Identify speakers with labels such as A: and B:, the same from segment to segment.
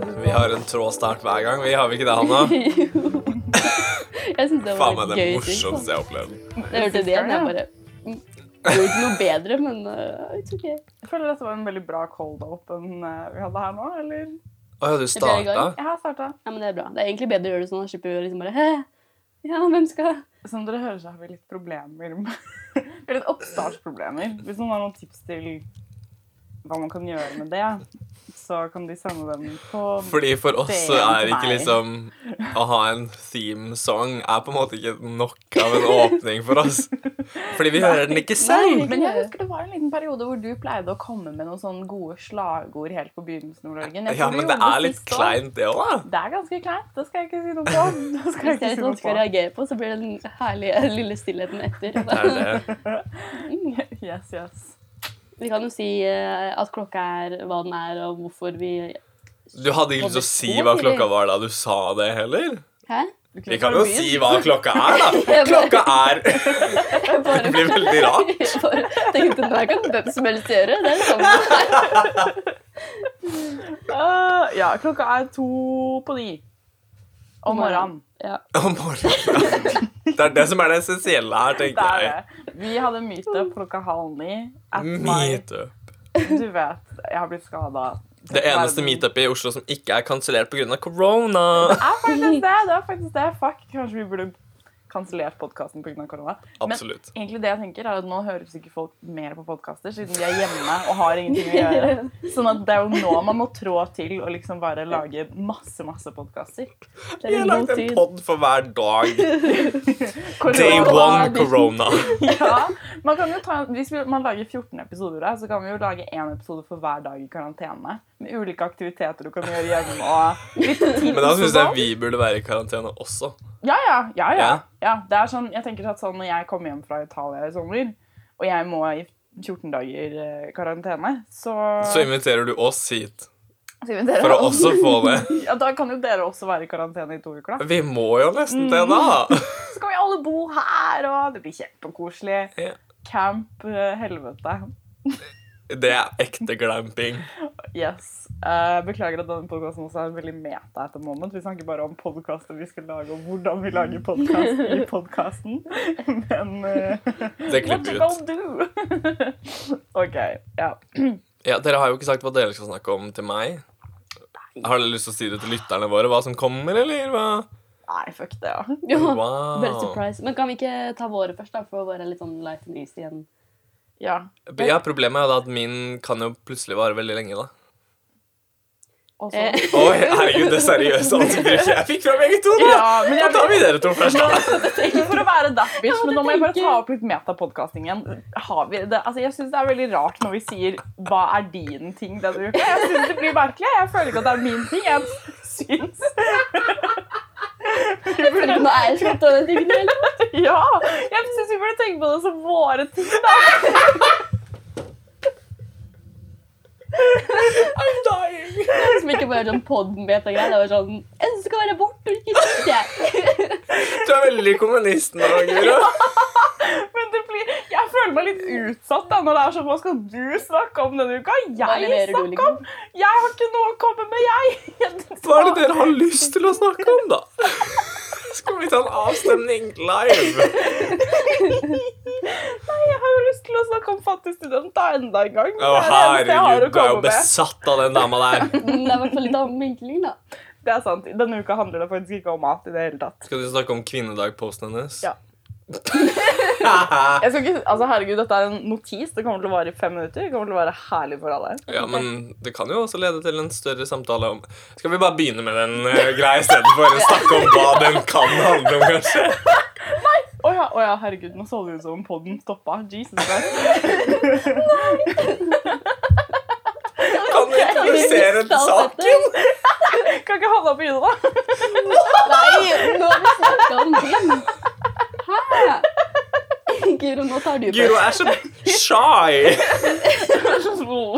A: Vi har en trå snart hver gang. Vi har vi ikke det, Hanna?
B: Jo. Jeg syns det
A: Faen
B: var
A: meg det
B: litt gøy. ting.
A: morsomste jeg har opplevd.
B: Jeg hørte det igjen. Jeg bare mm, Det er jo ikke noe bedre, men uh, it's ok.
C: Jeg føler dette var en veldig bra cold open eh, vi hadde her nå, eller?
A: Å ja, du
B: flere
A: starta?
B: ganger.
C: Jeg har starta.
B: Ja, men det er bra. Det er egentlig bedre å gjøre det sånn. Da slipper vi å liksom bare Hæ? Ja, hvem skal
C: Som dere hører, så har vi litt problemer med Vi har litt oppstartsproblemer. Hvis noen har noen tips til hva man kan gjøre med det, så kan de sende dem på
A: Fordi for oss så
C: Det er
A: er ikke
C: meg.
A: liksom Å ha en theme song er på en måte ikke nok av en åpning for oss. Fordi vi hører den ikke selv.
B: Nei.
C: Men jeg husker det var en liten periode hvor du pleide å komme med noen sånne gode slagord helt på begynnelsen. Ole Jørgen. Jeg
A: Ja,
C: tror du
A: men det
C: gjorde
A: er litt
C: sist også.
A: kleint, det òg, da.
C: Det er ganske kleint. Det skal jeg ikke si noe på. Det skal jeg
B: Hvis det
C: ikke
B: er
C: si
B: noe man
C: noe
B: skal
C: på.
B: reagere på, så blir det den herlige lille stillheten etter.
A: Det er det.
C: Yes, yes.
B: Vi kan jo si eh, at klokka er hva den er, og hvorfor vi
A: Du hadde ikke lyst til å si hva klokka var da du sa det, heller.
B: Hæ?
C: Du kunne
A: Vi kan
C: bare
A: jo
C: begynt.
A: si hva klokka er, da.
B: Jeg bare-
A: Klokka er
B: jeg bare-
A: Det blir veldig rart.
B: Jeg bare tenkte det her kan hvem som helst gjøre. Det er sånn.
C: Eh, ja, klokka er to på ni om morgenen.
B: Ja.
A: om morgenen. Det er det som er det essensielle her,
C: Det
A: tenker
C: er
A: jeg.
C: det. Vi hadde meetup klokka halv ni. At my,
A: Meetup.
C: du vet, jeg har blitt skada.
A: Det eneste meetupet i Oslo som ikke er kansellert pga. korona.
C: Det er faktisk det. det, er faktisk det. Fuck, kanskje vi burde kansellert podkasten pga. korona.
A: Absolutt.
C: Men egentlig det jeg tenker er at nå hører sikkert folk mer på podkaster siden de er hjemme og har ingenting å gjøre. Sånn at det er jo nå man må trå til og liksom bare lage masse, masse podkaster.
B: Det
A: Vi
B: er
A: har
B: en
A: lagd
B: god
A: en
B: tid.
A: pod for hver dag. Day
C: Korona.
A: one corona.
C: Ja, man kan jo ta, Hvis vi- man lager 14 episoder, da, så kan vi jo lage én episode for hver dag i karantene. Med ulike aktiviteter du kan gjøre hjemme. og litt tips
A: Men da syns jeg
C: og sånn.
A: vi burde være i karantene også.
C: Ja, ja. ja, ja.
A: Ja.
C: ja det er sånn, jeg tenker at sånn, Når jeg kommer hjem fra Italia i sommer, og jeg må i 14 dager eh, karantene, så,
A: Så inviterer du oss hit
C: så inviterer
A: for å
C: jeg oss.
A: også få det.
C: ja, Da kan jo dere også være i karantene i to uker. da.
A: Vi må jo nesten det, da.
B: Mm.
C: Så kan vi alle bo her, og det blir kjempekoselig.
A: Ja.
C: Camp eh, helvete.
A: Det er ekte glamping.
C: Yes. Eh, beklager at denne podkasten også er veldig meta etter moment. Vi snakker bare om podkaster vi skal lage, og hvordan vi lager podkast i podkasten. Men eh,
A: Det
C: What
A: klipper
C: you
A: vi ut.
C: gonna do? OK. Ja.
A: Ja, dere har jo ikke sagt hva dere skal snakke om til meg. Har dere lyst til å si det til lytterne våre, hva som kommer, eller hva?
C: Nei, fuck det, ja.
B: Ja. Veldig
A: Wow.
B: surprise. Men kan vi ikke ta våre først, da, for å være litt sånn light and easy igjen?
C: ja.
A: Ja, problemet er jo da at min kan jo plutselig vare veldig lenge, da.
C: Og så
B: Eh,
A: Oi, herregud, det seriøse ansiktsuttrykket jeg fikk fra begge to, da!
C: Ja, men
A: Da
C: jeg-
A: tar vi dere to først, da.
C: Ikke for å være that bitch,
B: Ja,
C: men nå
B: det
C: må jeg bare
B: tenker
C: ta
B: jeg.
C: opp litt metapodkasting igjen. Har vi det? Altså, jeg syns det er veldig rart når vi sier 'hva er din ting' denne uka. Jeg syns det blir merkelig. Jeg føler ikke at det er min ting. Jeg syns
B: jeg føler at Nå er jeg slått av den tingen helt.
C: Ja! Jeg syns vi burde tenke på det som våre ting, da. I'm dying.
B: Som ikke bare sånn podmet-greier. Det var sånn Jeg skal være borte, ikke sant? jeg?»
A: Du er veldig kommunist nå, Guro.
C: Men det blir, jeg føler meg litt utsatt da, når det er sånn Hva skal du snakke om denne uka?
B: Hva
C: Jeg
B: leverer du, liksom?
C: snakker om Jeg har ikke noe å komme med, jeg.
A: Hva er det dere har lyst til å snakke om, da? Skal vi ta en avstemning live?
C: Nei, jeg har jo lyst til å snakke om fattig student da enda en gang. det
A: Å,
C: er det eneste jeg har å
A: herregud, du er jo
C: komme med.
A: besatt av den dama der.
B: Men Mm, det er i hvert fall litt annen vinkling, da.
C: Det er sant. Denne uka handler det faktisk ikke om mat i det hele tatt.
A: Skal du snakke om kvinnedag-posten hennes?
C: Ja. Jeg skal ikke, altså herregud, Dette er en notis. Det kommer til å vare i fem minutter. Det kommer til å være herlig for alle.
A: Ja, men det kan jo også lede til en større samtale om Skal vi bare begynne med den uh, greia istedenfor å snakke om hva den kan handle om, kanskje?
C: Å ja, å ja, herregud, nå så det ut som om podden stoppa. Jesus Christ.
A: Kan vi introdusere
B: Mista alt
A: saken?
B: dette.
C: Kan ikke Hanna begynne, da?
B: Nei, nå har vi snakket om din. Hæ? Guro, nå tar du
A: Guro er så shy.
C: Vær så snill.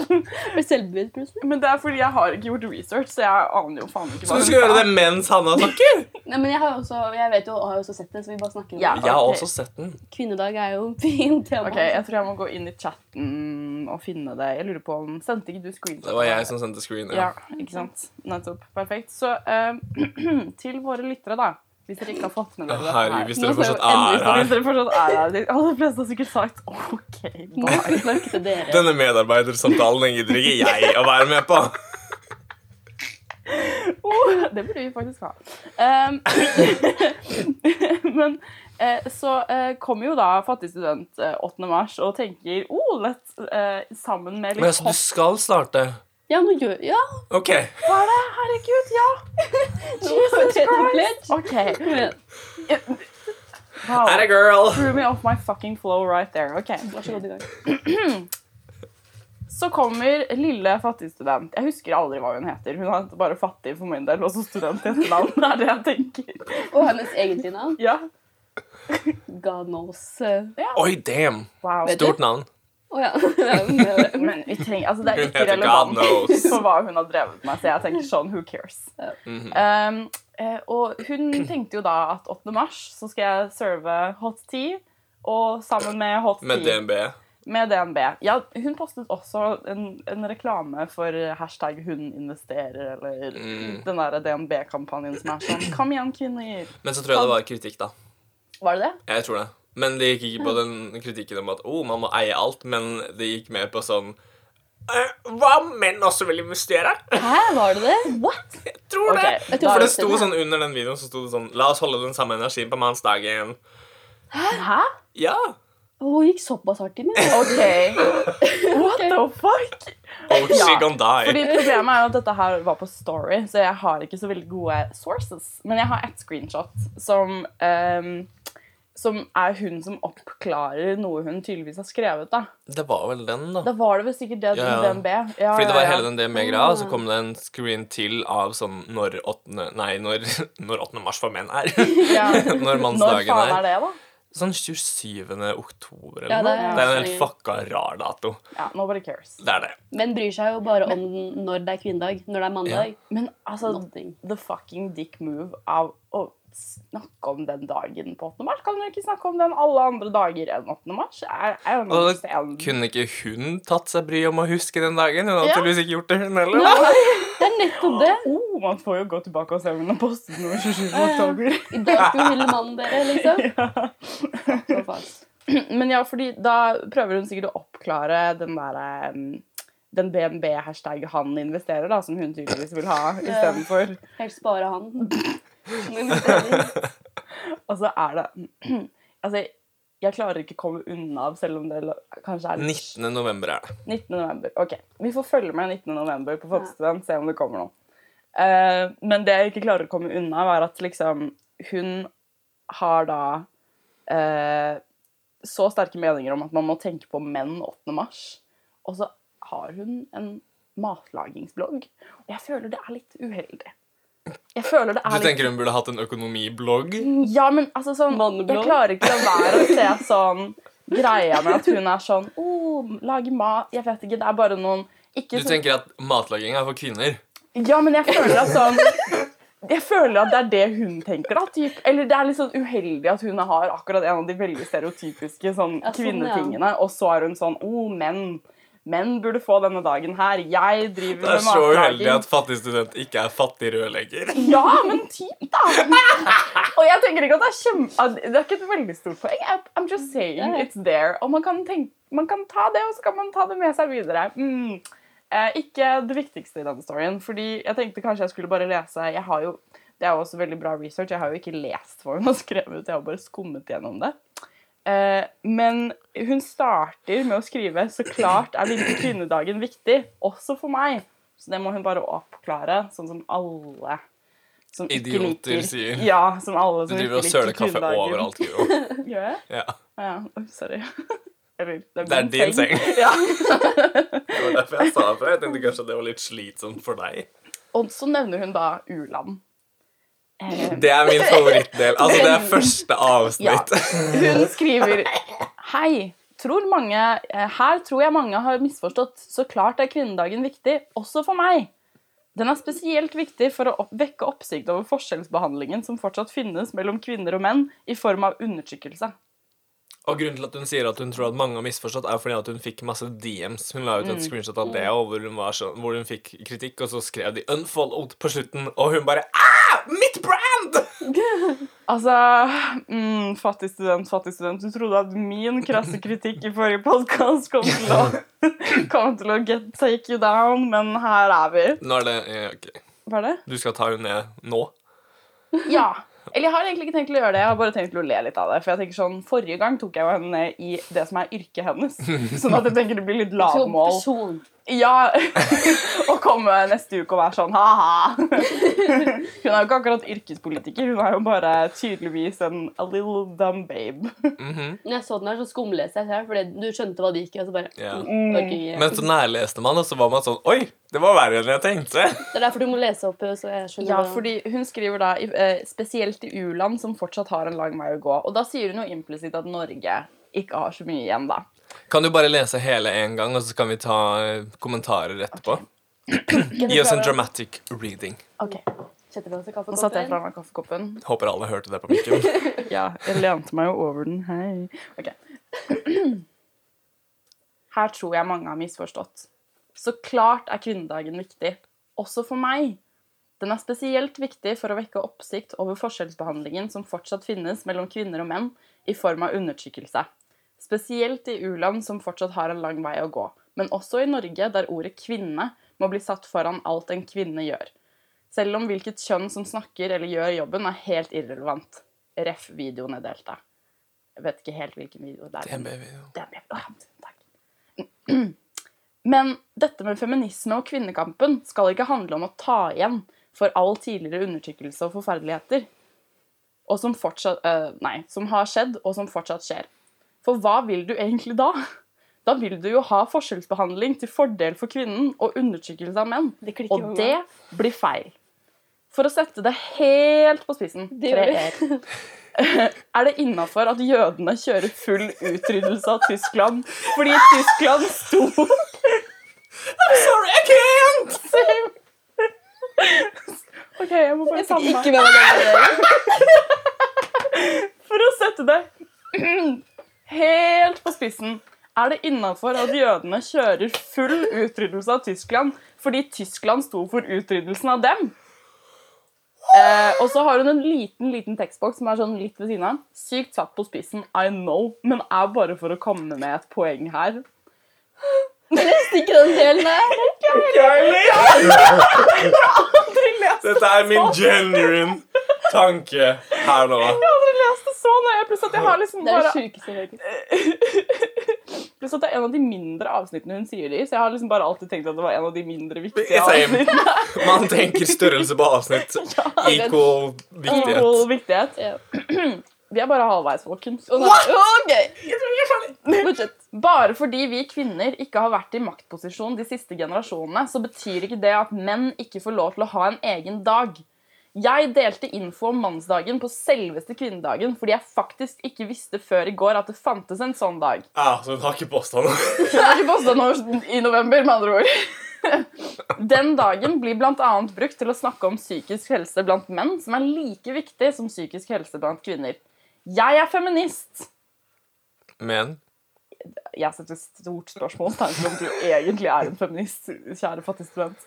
B: Ble selvbevisst plutselig.
C: Men det er fordi jeg har ikke gjort research, så jeg aner jo faen ikke
A: Så du skal gjøre det mens Hanna snakker?
B: Nei, men jeg har jo også, jeg vet jo, har jo også sett det, så vi bare snakker om
C: Ja.
B: det.
A: Jeg har
C: Ok.
A: også sett den.
B: Kvinnedag er jo fint tema.
C: Ok, jeg tror jeg må gå inn i chatten og finne det. Jeg lurer på om Sendte ikke du screenshot?
A: Det var jeg som sendte screen.
C: Ja, ikke sant. Nettopp. Perfekt. Så eh, til våre lyttere, da. Hvis dere ikke har fått med
A: Å,
C: dere dette
A: Herregud,
C: her.
A: hvis dere
B: Nå får jeg
A: fortsatt
B: jo
A: er
C: Hvis
A: her.
C: dere fortsatt er her. De aller fleste har sikkert sagt OK,
B: Nå
C: bye.
B: snakket dere.
A: Denne medarbeidersamtalen den gidder ikke jeg å være med på.
C: Oh, det burde vi faktisk ha. Um, men eh, så eh, kommer jo da Fattig student eh, 8. mars og tenker oh, lett, eh, sammen med
A: Men
C: litt
A: altså, du skal starte.
B: Ja, nå gjør Ja,
A: OK.
C: hopp Hva er det? Herregud, ja! Jesus Christ! OK.
B: Men,
C: Wow.
A: Atta girl.
C: Threw me off my fucking flow right there. OK.
B: vær så god i gang.
C: Så kommer lille fattig student. Jeg husker aldri hva hun heter. Hun heter bare Fattig for min del, og så student i et land. Det er det jeg tenker.
B: Og hennes egentlige navn?
C: Ja.
B: God knows. eh,
A: Oi, damn.
C: Wow.
B: Vet du?
A: Stort navn.
B: Å ja. ja. men det var det.
C: Men vi trenger, altså det er
A: Hun
C: ikke
A: heter God
C: relevant
A: knows.
C: for hva hun har drevet med, så jeg tenker sånn, who cares?
A: Mhm.
C: Um, eh, og hun tenkte jo da at 8. mars så skal jeg serve hot tea, og sammen med hot tea
A: Med DNB.
C: med DNB. Ja, hun postet også en, en reklame for hashtag hun investerer, eller
A: Mm.
C: den der DNB-kampanjen som er sånn, kom igjen kvinner!
A: Men så tror jeg det var kritikk, da.
C: Var det det?
A: Jeg tror det. Men det gikk ikke på den kritikken om at oh, man må eie alt, men det gikk mer på sånn «Eh, Hva om menn også vil investere?
B: Hæ, var det det? What?
A: Jeg tror
C: Ok,
A: det.
B: Jeg tror
A: For det
B: det
A: sto
B: stemmer.
A: sånn under den videoen så sto det sånn La oss holde den samme energien på mannsdagen.
C: Hæ?
A: Ja.
B: Hun gikk såpass hardt i meg.
C: Ok. What the fuck?
A: Oh, she
C: Ja,
A: gonna die.
C: Fordi Problemet er jo at dette her var på Story, så jeg har ikke så veldig gode sources. Men jeg har ett screenshot som, ehm, som er hun som oppklarer noe hun tydeligvis har skrevet. Da
A: Det var vel den, da.
C: Da var det vel sikkert det
A: Ja.
C: DNB. Ja,
A: Fordi det
C: ja,
A: var
C: ja.
A: hele den DME-greia, og så kom det en screen til av sånn når 8. Nei, når, når 8. mars for menn er.
C: ja.
A: Når
C: Når
A: mannsdagen
C: faen er
A: er.
C: det, da?
A: Sånn 27. oktober eller
B: Ja,
A: noe.
B: det er-
A: Det er en
C: sånn-
A: helt fucka rar dato.
C: Ja, Nobody cares.
A: Det er det.
B: Men bryr seg jo bare om den når det er kvinnedag. Når det er mandag.
C: Men altså,
B: Nothing.
C: the fucking dick move av å snakke om den dagen på 8. mars. Kan du ikke snakke om den alle andre dager enn 8. mars? I, I don't
A: Og da
C: understand.
A: kunne ikke hun tatt seg bryet om å huske den dagen? Hun hadde
C: Ja.
A: tydeligvis ikke gjort det, hun heller.
B: Det er nettopp det.
C: Oh, man får jo gå tilbake og se om hun har postet noe 27. oktober.
B: I dag skulle hun hylle mannen dere, liksom. Så faen.
C: Men ja, fordi da prøver hun sikkert å oppklare den derre um, den BNB-hashtag han investerer, da, som hun tydeligvis vil ha istedenfor.
B: Helt spare han. Men vi trenger-
C: Og så er det Altså, jeg klarer ikke å komme unna, selv om det kanskje er litt
A: 19. november er det.
C: 19. november. Ok, vi får følge med 19. november på
B: Ja.
C: Folkestudent, se om det kommer noe. Eh, men det jeg ikke klarer å komme unna, er at liksom hun har da eh, så sterke meninger om at man må tenke på menn 8. mars, og så har hun en matlagingsblogg. Og jeg føler det er litt uheldig. Jeg føler det er
A: Du
C: litt
A: tenker hun burde hatt en økonomiblogg?
C: ja, men altså sånn
B: Manneblad.
C: Jeg klarer ikke å la være å se sånn greia med at hun er sånn oh, Lage mat Jeg vet ikke, det er bare noen
A: Du
C: ikke så,
A: tenker at matlaging er for kvinner?
C: Ja, men jeg føler at sånn jeg føler at det er det hun tenker. da, typ. Eller Det er litt sånn uheldig at hun har akkurat en av de veldig stereotypiske sånn,
B: Ja, sånn, ja.
C: kvinnetingene, og så er hun sånn oh, menn. Menn burde få denne dagen her. Jeg driver
A: Det er
C: med
A: så uheldig
C: matlaging.
A: at fattig student ikke er fattig rødlegger.
C: Ja, men typ, da! Og jeg tenker ikke at det er kjempe... at Det er ikke et veldig stort poeng. Jeg- I'm just saying
B: Ja, ja.
C: it's there. Og man kan, tenke, man kan ta det, og så kan man ta det med seg videre. Mm. Eh, ikke det viktigste i denne storyen, fordi jeg tenkte kanskje jeg skulle bare lese Jeg har jo, Det er jo også veldig bra research. Jeg har jo ikke lest hva hun har skrevet, jeg har bare skummet gjennom det. Eh, men hun starter med å skrive 'Så klart er lille kvinnedagen viktig, også for meg'. Så det må hun bare oppklare, sånn som alle som ikke
A: Idioter
C: liker
A: sier.
C: Ja, som alle
A: Du
C: som
A: driver og
C: ikke
A: søler
C: liker
A: kaffe
C: kvinnedagen.
A: overalt, Guro.
C: Gjør jeg?
A: Ja.
C: Ja, oi, sorry. Eller, det er,
A: Det er
C: min
A: din seng.
C: Ja.
A: Det var derfor jeg sa det. for Jeg tenkte kanskje det var litt slitsomt for deg.
C: Og så nevner hun da u-land. Eh,
A: Det er min favorittdel. Altså, det er første avsnitt.
C: Hun skriver Hei, tror mange, eh, her tror jeg mange har misforstått. Så klart er kvinnedagen viktig, også for meg. Den er spesielt viktig for å opp vekke oppsikt over forskjellsbehandlingen som fortsatt finnes mellom kvinner og menn i form av undertrykkelse.
A: Og grunnen til at hun sier at hun tror at mange har misforstått, er fordi at hun fikk masse DMs. Hun la ut et screenshot av det, og hvor hun, var sånn, hvor hun fikk kritikk, og så skrev de 'unfollowed' på slutten, og hun bare Ah! Mitt brand!
C: Altså mm, Fattig student, fattig student. Du trodde at min krasse kritikk i forrige podkast kom, til å- kom til å get, take you down, men her er vi.
A: Nå er det ja, OK.
C: Hva er det?
A: Du skal ta henne ned nå?
C: Ja. Eller jeg har egentlig ikke tenkt til å gjøre det, jeg har bare tenkt til å le litt av det. For jeg tenker sånn, Forrige gang tok jeg jo henne ned i det som er yrket hennes. Sånn at jeg tenker det blir litt
B: Som
C: lavmål.
B: person.
C: Ja, og komme neste uke og være sånn ha-ha. Hun er jo ikke akkurat yrkespolitiker, hun er jo bare tydeligvis en a little dumb babe.
A: Mhm.
B: Når jeg så den her, så skumleste jeg selv, fordi du skjønte hva det gikk i, og så bare
A: Ja.
B: mm, orker ikke.
A: Men så nærleste man, og så var man sånn Oi, det var verre enn jeg tenkte.
B: Det er derfor du må lese opp, så jeg skjønner
C: Ja,
B: hva-
C: fordi hun skriver da i- eh, spesielt i u-land som fortsatt har en lang vei å gå. Og da sier hun jo implisitt at Norge ikke har så mye igjen, da.
A: Kan du bare lese hele en gang, og så kan vi ta eh, kommentarer etterpå? Gi oss en dramatic reading.
C: Ok,
B: Setter vi oss i
C: Nå satte jeg fra
B: kaffekoppen.
C: meg kaffekoppen.
A: Håper alle hørte det på mikken.
C: Ja, jeg lente meg jo over den. Hei. Ok. Her tror jeg mange har misforstått. Så klart er kvinnedagen viktig, også for meg. Den er spesielt viktig for å vekke oppsikt over forskjellsbehandlingen som fortsatt finnes mellom kvinner og menn i form av undertrykkelse. Spesielt i u-land som fortsatt har en lang vei å gå, men også i Norge der ordet kvinne må bli satt foran alt en kvinne gjør. Selv om hvilket kjønn som snakker eller gjør jobben, er helt irrelevant. Ref. videoen jeg delte. Jeg vet ikke helt hvilken video det er.
A: DMB-video.
C: Det er mer- Åh, takk. Men dette med feminisme og kvinnekampen skal ikke handle om å ta igjen for all tidligere undertrykkelse og forferdeligheter, og som, fortsatt, eh, nei, som har skjedd, og som fortsatt skjer. For hva vil du egentlig da? Da vil du jo ha forskjellsbehandling til fordel for kvinnen og undertrykkelse av menn.
B: Det klikker jo
C: Og det blir feil. For å sette det helt på spissen
B: Det gjør
C: tre er. Er det innafor at jødene kjører full utryddelse av Tyskland fordi Tyskland sto
A: Sorry, I can't!
C: OK, jeg må bare samle meg.
B: Ikke med meg.
C: For å sette det helt på spissen er det innafor at jødene kjører full utryddelse av Tyskland fordi Tyskland sto for utryddelsen av dem. Eh, og så har hun en liten liten tekstboks som er sånn litt ved siden av. Sykt satt på spissen, I know, men er bare for å komme med et poeng her.
B: Nesten ikke den delen der.
A: Dette er min genuine tanke her nå.
C: Jeg har aldri lest det så nøye. Pluss at jeg har liksom
B: Det er det
C: bare
B: sjukeste jeg vet.
C: Pluss at det er en av de mindre avsnittene hun sier det i, så jeg har liksom bare alltid tenkt at det var en av de mindre viktige
A: Same.
C: avsnittene.
A: Man tenker størrelse på avsnitt. Equal viktighet.
C: Equal viktighet.
B: Ja.
C: Vi er bare halvveis, folkens.
B: Og nå- Ok. Fortsett.
C: Bare fordi vi kvinner ikke har vært i maktposisjon de siste generasjonene, så betyr ikke det at menn ikke får lov til å ha en egen dag. Jeg delte info om mannsdagen på selveste kvinnedagen fordi jeg faktisk ikke visste før i går at det fantes en sånn dag.
A: Ja, så hun har ikke påstand.
C: Det er ikke posta nå i november, med andre ord. Den dagen blir bl.a. brukt til å snakke om psykisk helse blant menn, som er like viktig som psykisk helse blant kvinner. Jeg er feminist.
A: Men
C: Jeg setter stort spørsmålstegn ved om du egentlig er en feminist, kjære fattig student.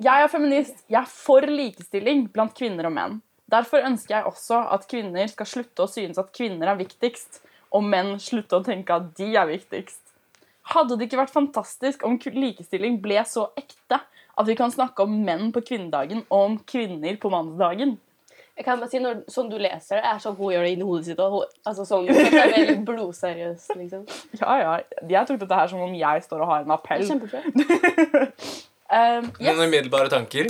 C: Jeg er feminist. Jeg er for likestilling blant kvinner og menn. Derfor ønsker jeg også at kvinner skal slutte å synes at kvinner er viktigst, og menn slutte å tenke at de er viktigst. Hadde det ikke vært fantastisk om ku- likestilling ble så ekte at vi kan snakke om menn på kvinnedagen og om kvinner på mannsdagen?
B: Jeg kan bare si, når, Sånn du leser det, er sånn hun gjør det inni hodet sitt. Og hun, altså sånn, sånn at det er veldig blodseriøst, liksom. Det
C: Ja, ja. Jeg tok dette her som om jeg står og har en
B: er
C: appell.
B: Kjempebra.
C: Um, yes.
A: noen umiddelbare tanker?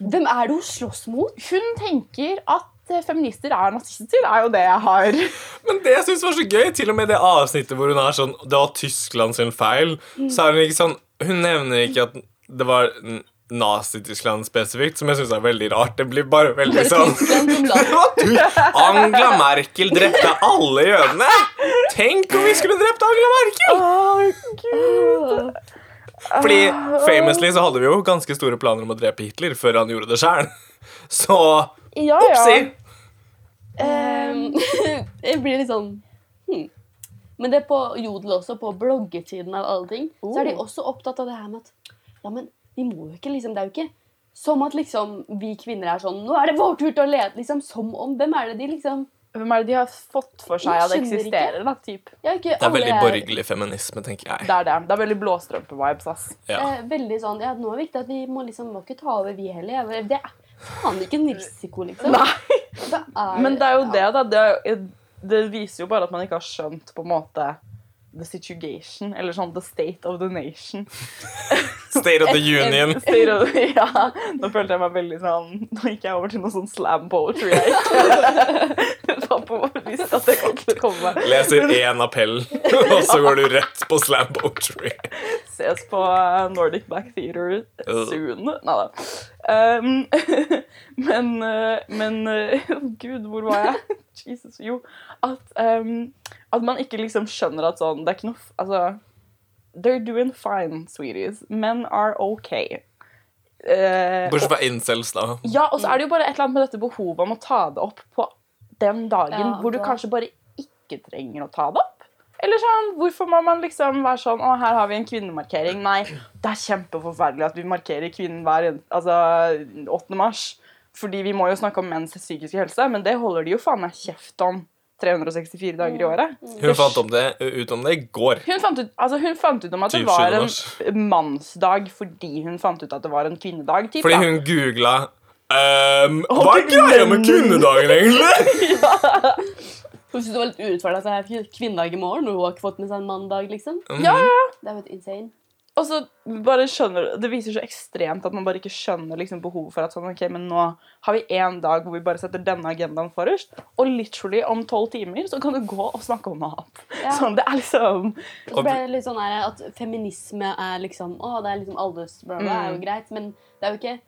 B: Hvem er det hun slåss mot?
C: Hun tenker at eh, feminister er nazister, er jo det jeg har.
A: Men det jeg synes var så gøy, til og med det avsnittet hvor hun er sånn Det var Tyskland sin feil. Så er hun ikke sånn Hun nevner ikke at det var n- Nazi-Tyskland spesifikt, som jeg syns er veldig rart. Det blir bare veldig sånn
B: Tyskland som land.
A: Angela Merkel drepte alle jødene! Tenk om vi skulle drept Angela Merkel! Fordi famously så hadde vi jo ganske store planer om å drepe Hitler før han gjorde det sjøl. Så
C: Ja,
A: opsi!
C: ja.
B: Ehm, jeg blir litt sånn hmm. Men det er på Jodel også, på bloggetiden av alle ting, så er de
C: Oh.
B: også opptatt av det her med at ja, men vi må jo ikke liksom Det er jo ikke som at liksom vi kvinner er sånn Nå er det vår tur til å lede! liksom Som om Hvem er det de liksom
C: Hvem er det de har fått for seg
B: Jeg
C: at det
B: skjønner ikke.
C: eksisterer? da, typ?
B: ja, ikke,
A: Det er
B: alle
A: veldig borgerlig feminisme, tenker jeg.
C: Det er det. Det er veldig blåstrømpe-vibes. ass.
A: Ja.
B: Eh, veldig sånn Ja, nå er det viktig at vi må liksom må ikke ta over, vi heller. Jeg bare, Det er faen ikke en risiko, liksom.
C: Nei,
B: Det er,
C: Men det er jo det,
B: ja.
C: da. Det, er- det viser jo bare at man ikke har skjønt på en måte the situation, eller sånn the state of the nation.
A: State of the Union.
C: State of, ja, Nå følte jeg meg veldig sånn Nå gikk jeg over til noe sånn slam poetry. Jeg ikke det var på visst at det kom til å komme.
A: Leser én appell, og så går du rett på slam poetry.
C: Ses på eh, Nordic Black Theater soon. Nei da. Um, men eh, men eh, Gud, hvor var jeg? Jesus. Jo, at, um, at man ikke liksom skjønner at sånn Det er ikke noe f- Altså They're doing fine, sweeties. Men are okay. Eh,
A: Bortsett fra incels, da.
C: Ja, og så er
B: Mm.
C: det jo bare et eller annet med dette behovet om å ta det opp på den dagen
B: Ja,
C: hvor du
B: det.
C: kanskje bare ikke trenger å ta det opp. Eller sånn, Hvorfor må man liksom være sånn Å, her har vi en kvinnemarkering. Nei, det er kjempeforferdelig at vi markerer kvinnen hver en- altså, 8. mars. Fordi vi må jo snakke om menns psykiske helse, men det holder de jo faen meg kjeft om 364 dager i
B: Mm,
C: året.
A: Hun fant om det, ut om det i går.
C: Hun fant, ut, altså hun fant ut om at det
A: 27.
C: var
A: mars.
C: en mannsdag fordi hun fant ut at det var en kvinnedag. Typ,
A: Fordi
C: da.
A: hun googla ehm, Hva er greia med kvinnedagen, egentlig?
B: Hun syntes det var litt urettferdig at det er kvinnedag i morgen, og hun har ikke fått med seg en mandag, liksom.
C: Ja, ja,
B: Det er jo helt insane.
C: Og så bare skjønner Det viser så ekstremt at man bare ikke skjønner liksom behovet for at sånn, ok, men nå har vi én dag hvor vi bare setter denne agendaen forrest, og literally om tolv timer så kan du gå og snakke om mat.
B: Ja.
C: Sånn, det er liksom
B: Og så ble det litt sånn her at feminisme er liksom Å, det er liksom alles bla, bla,
A: Mm.
B: er jo greit, men det er jo ikke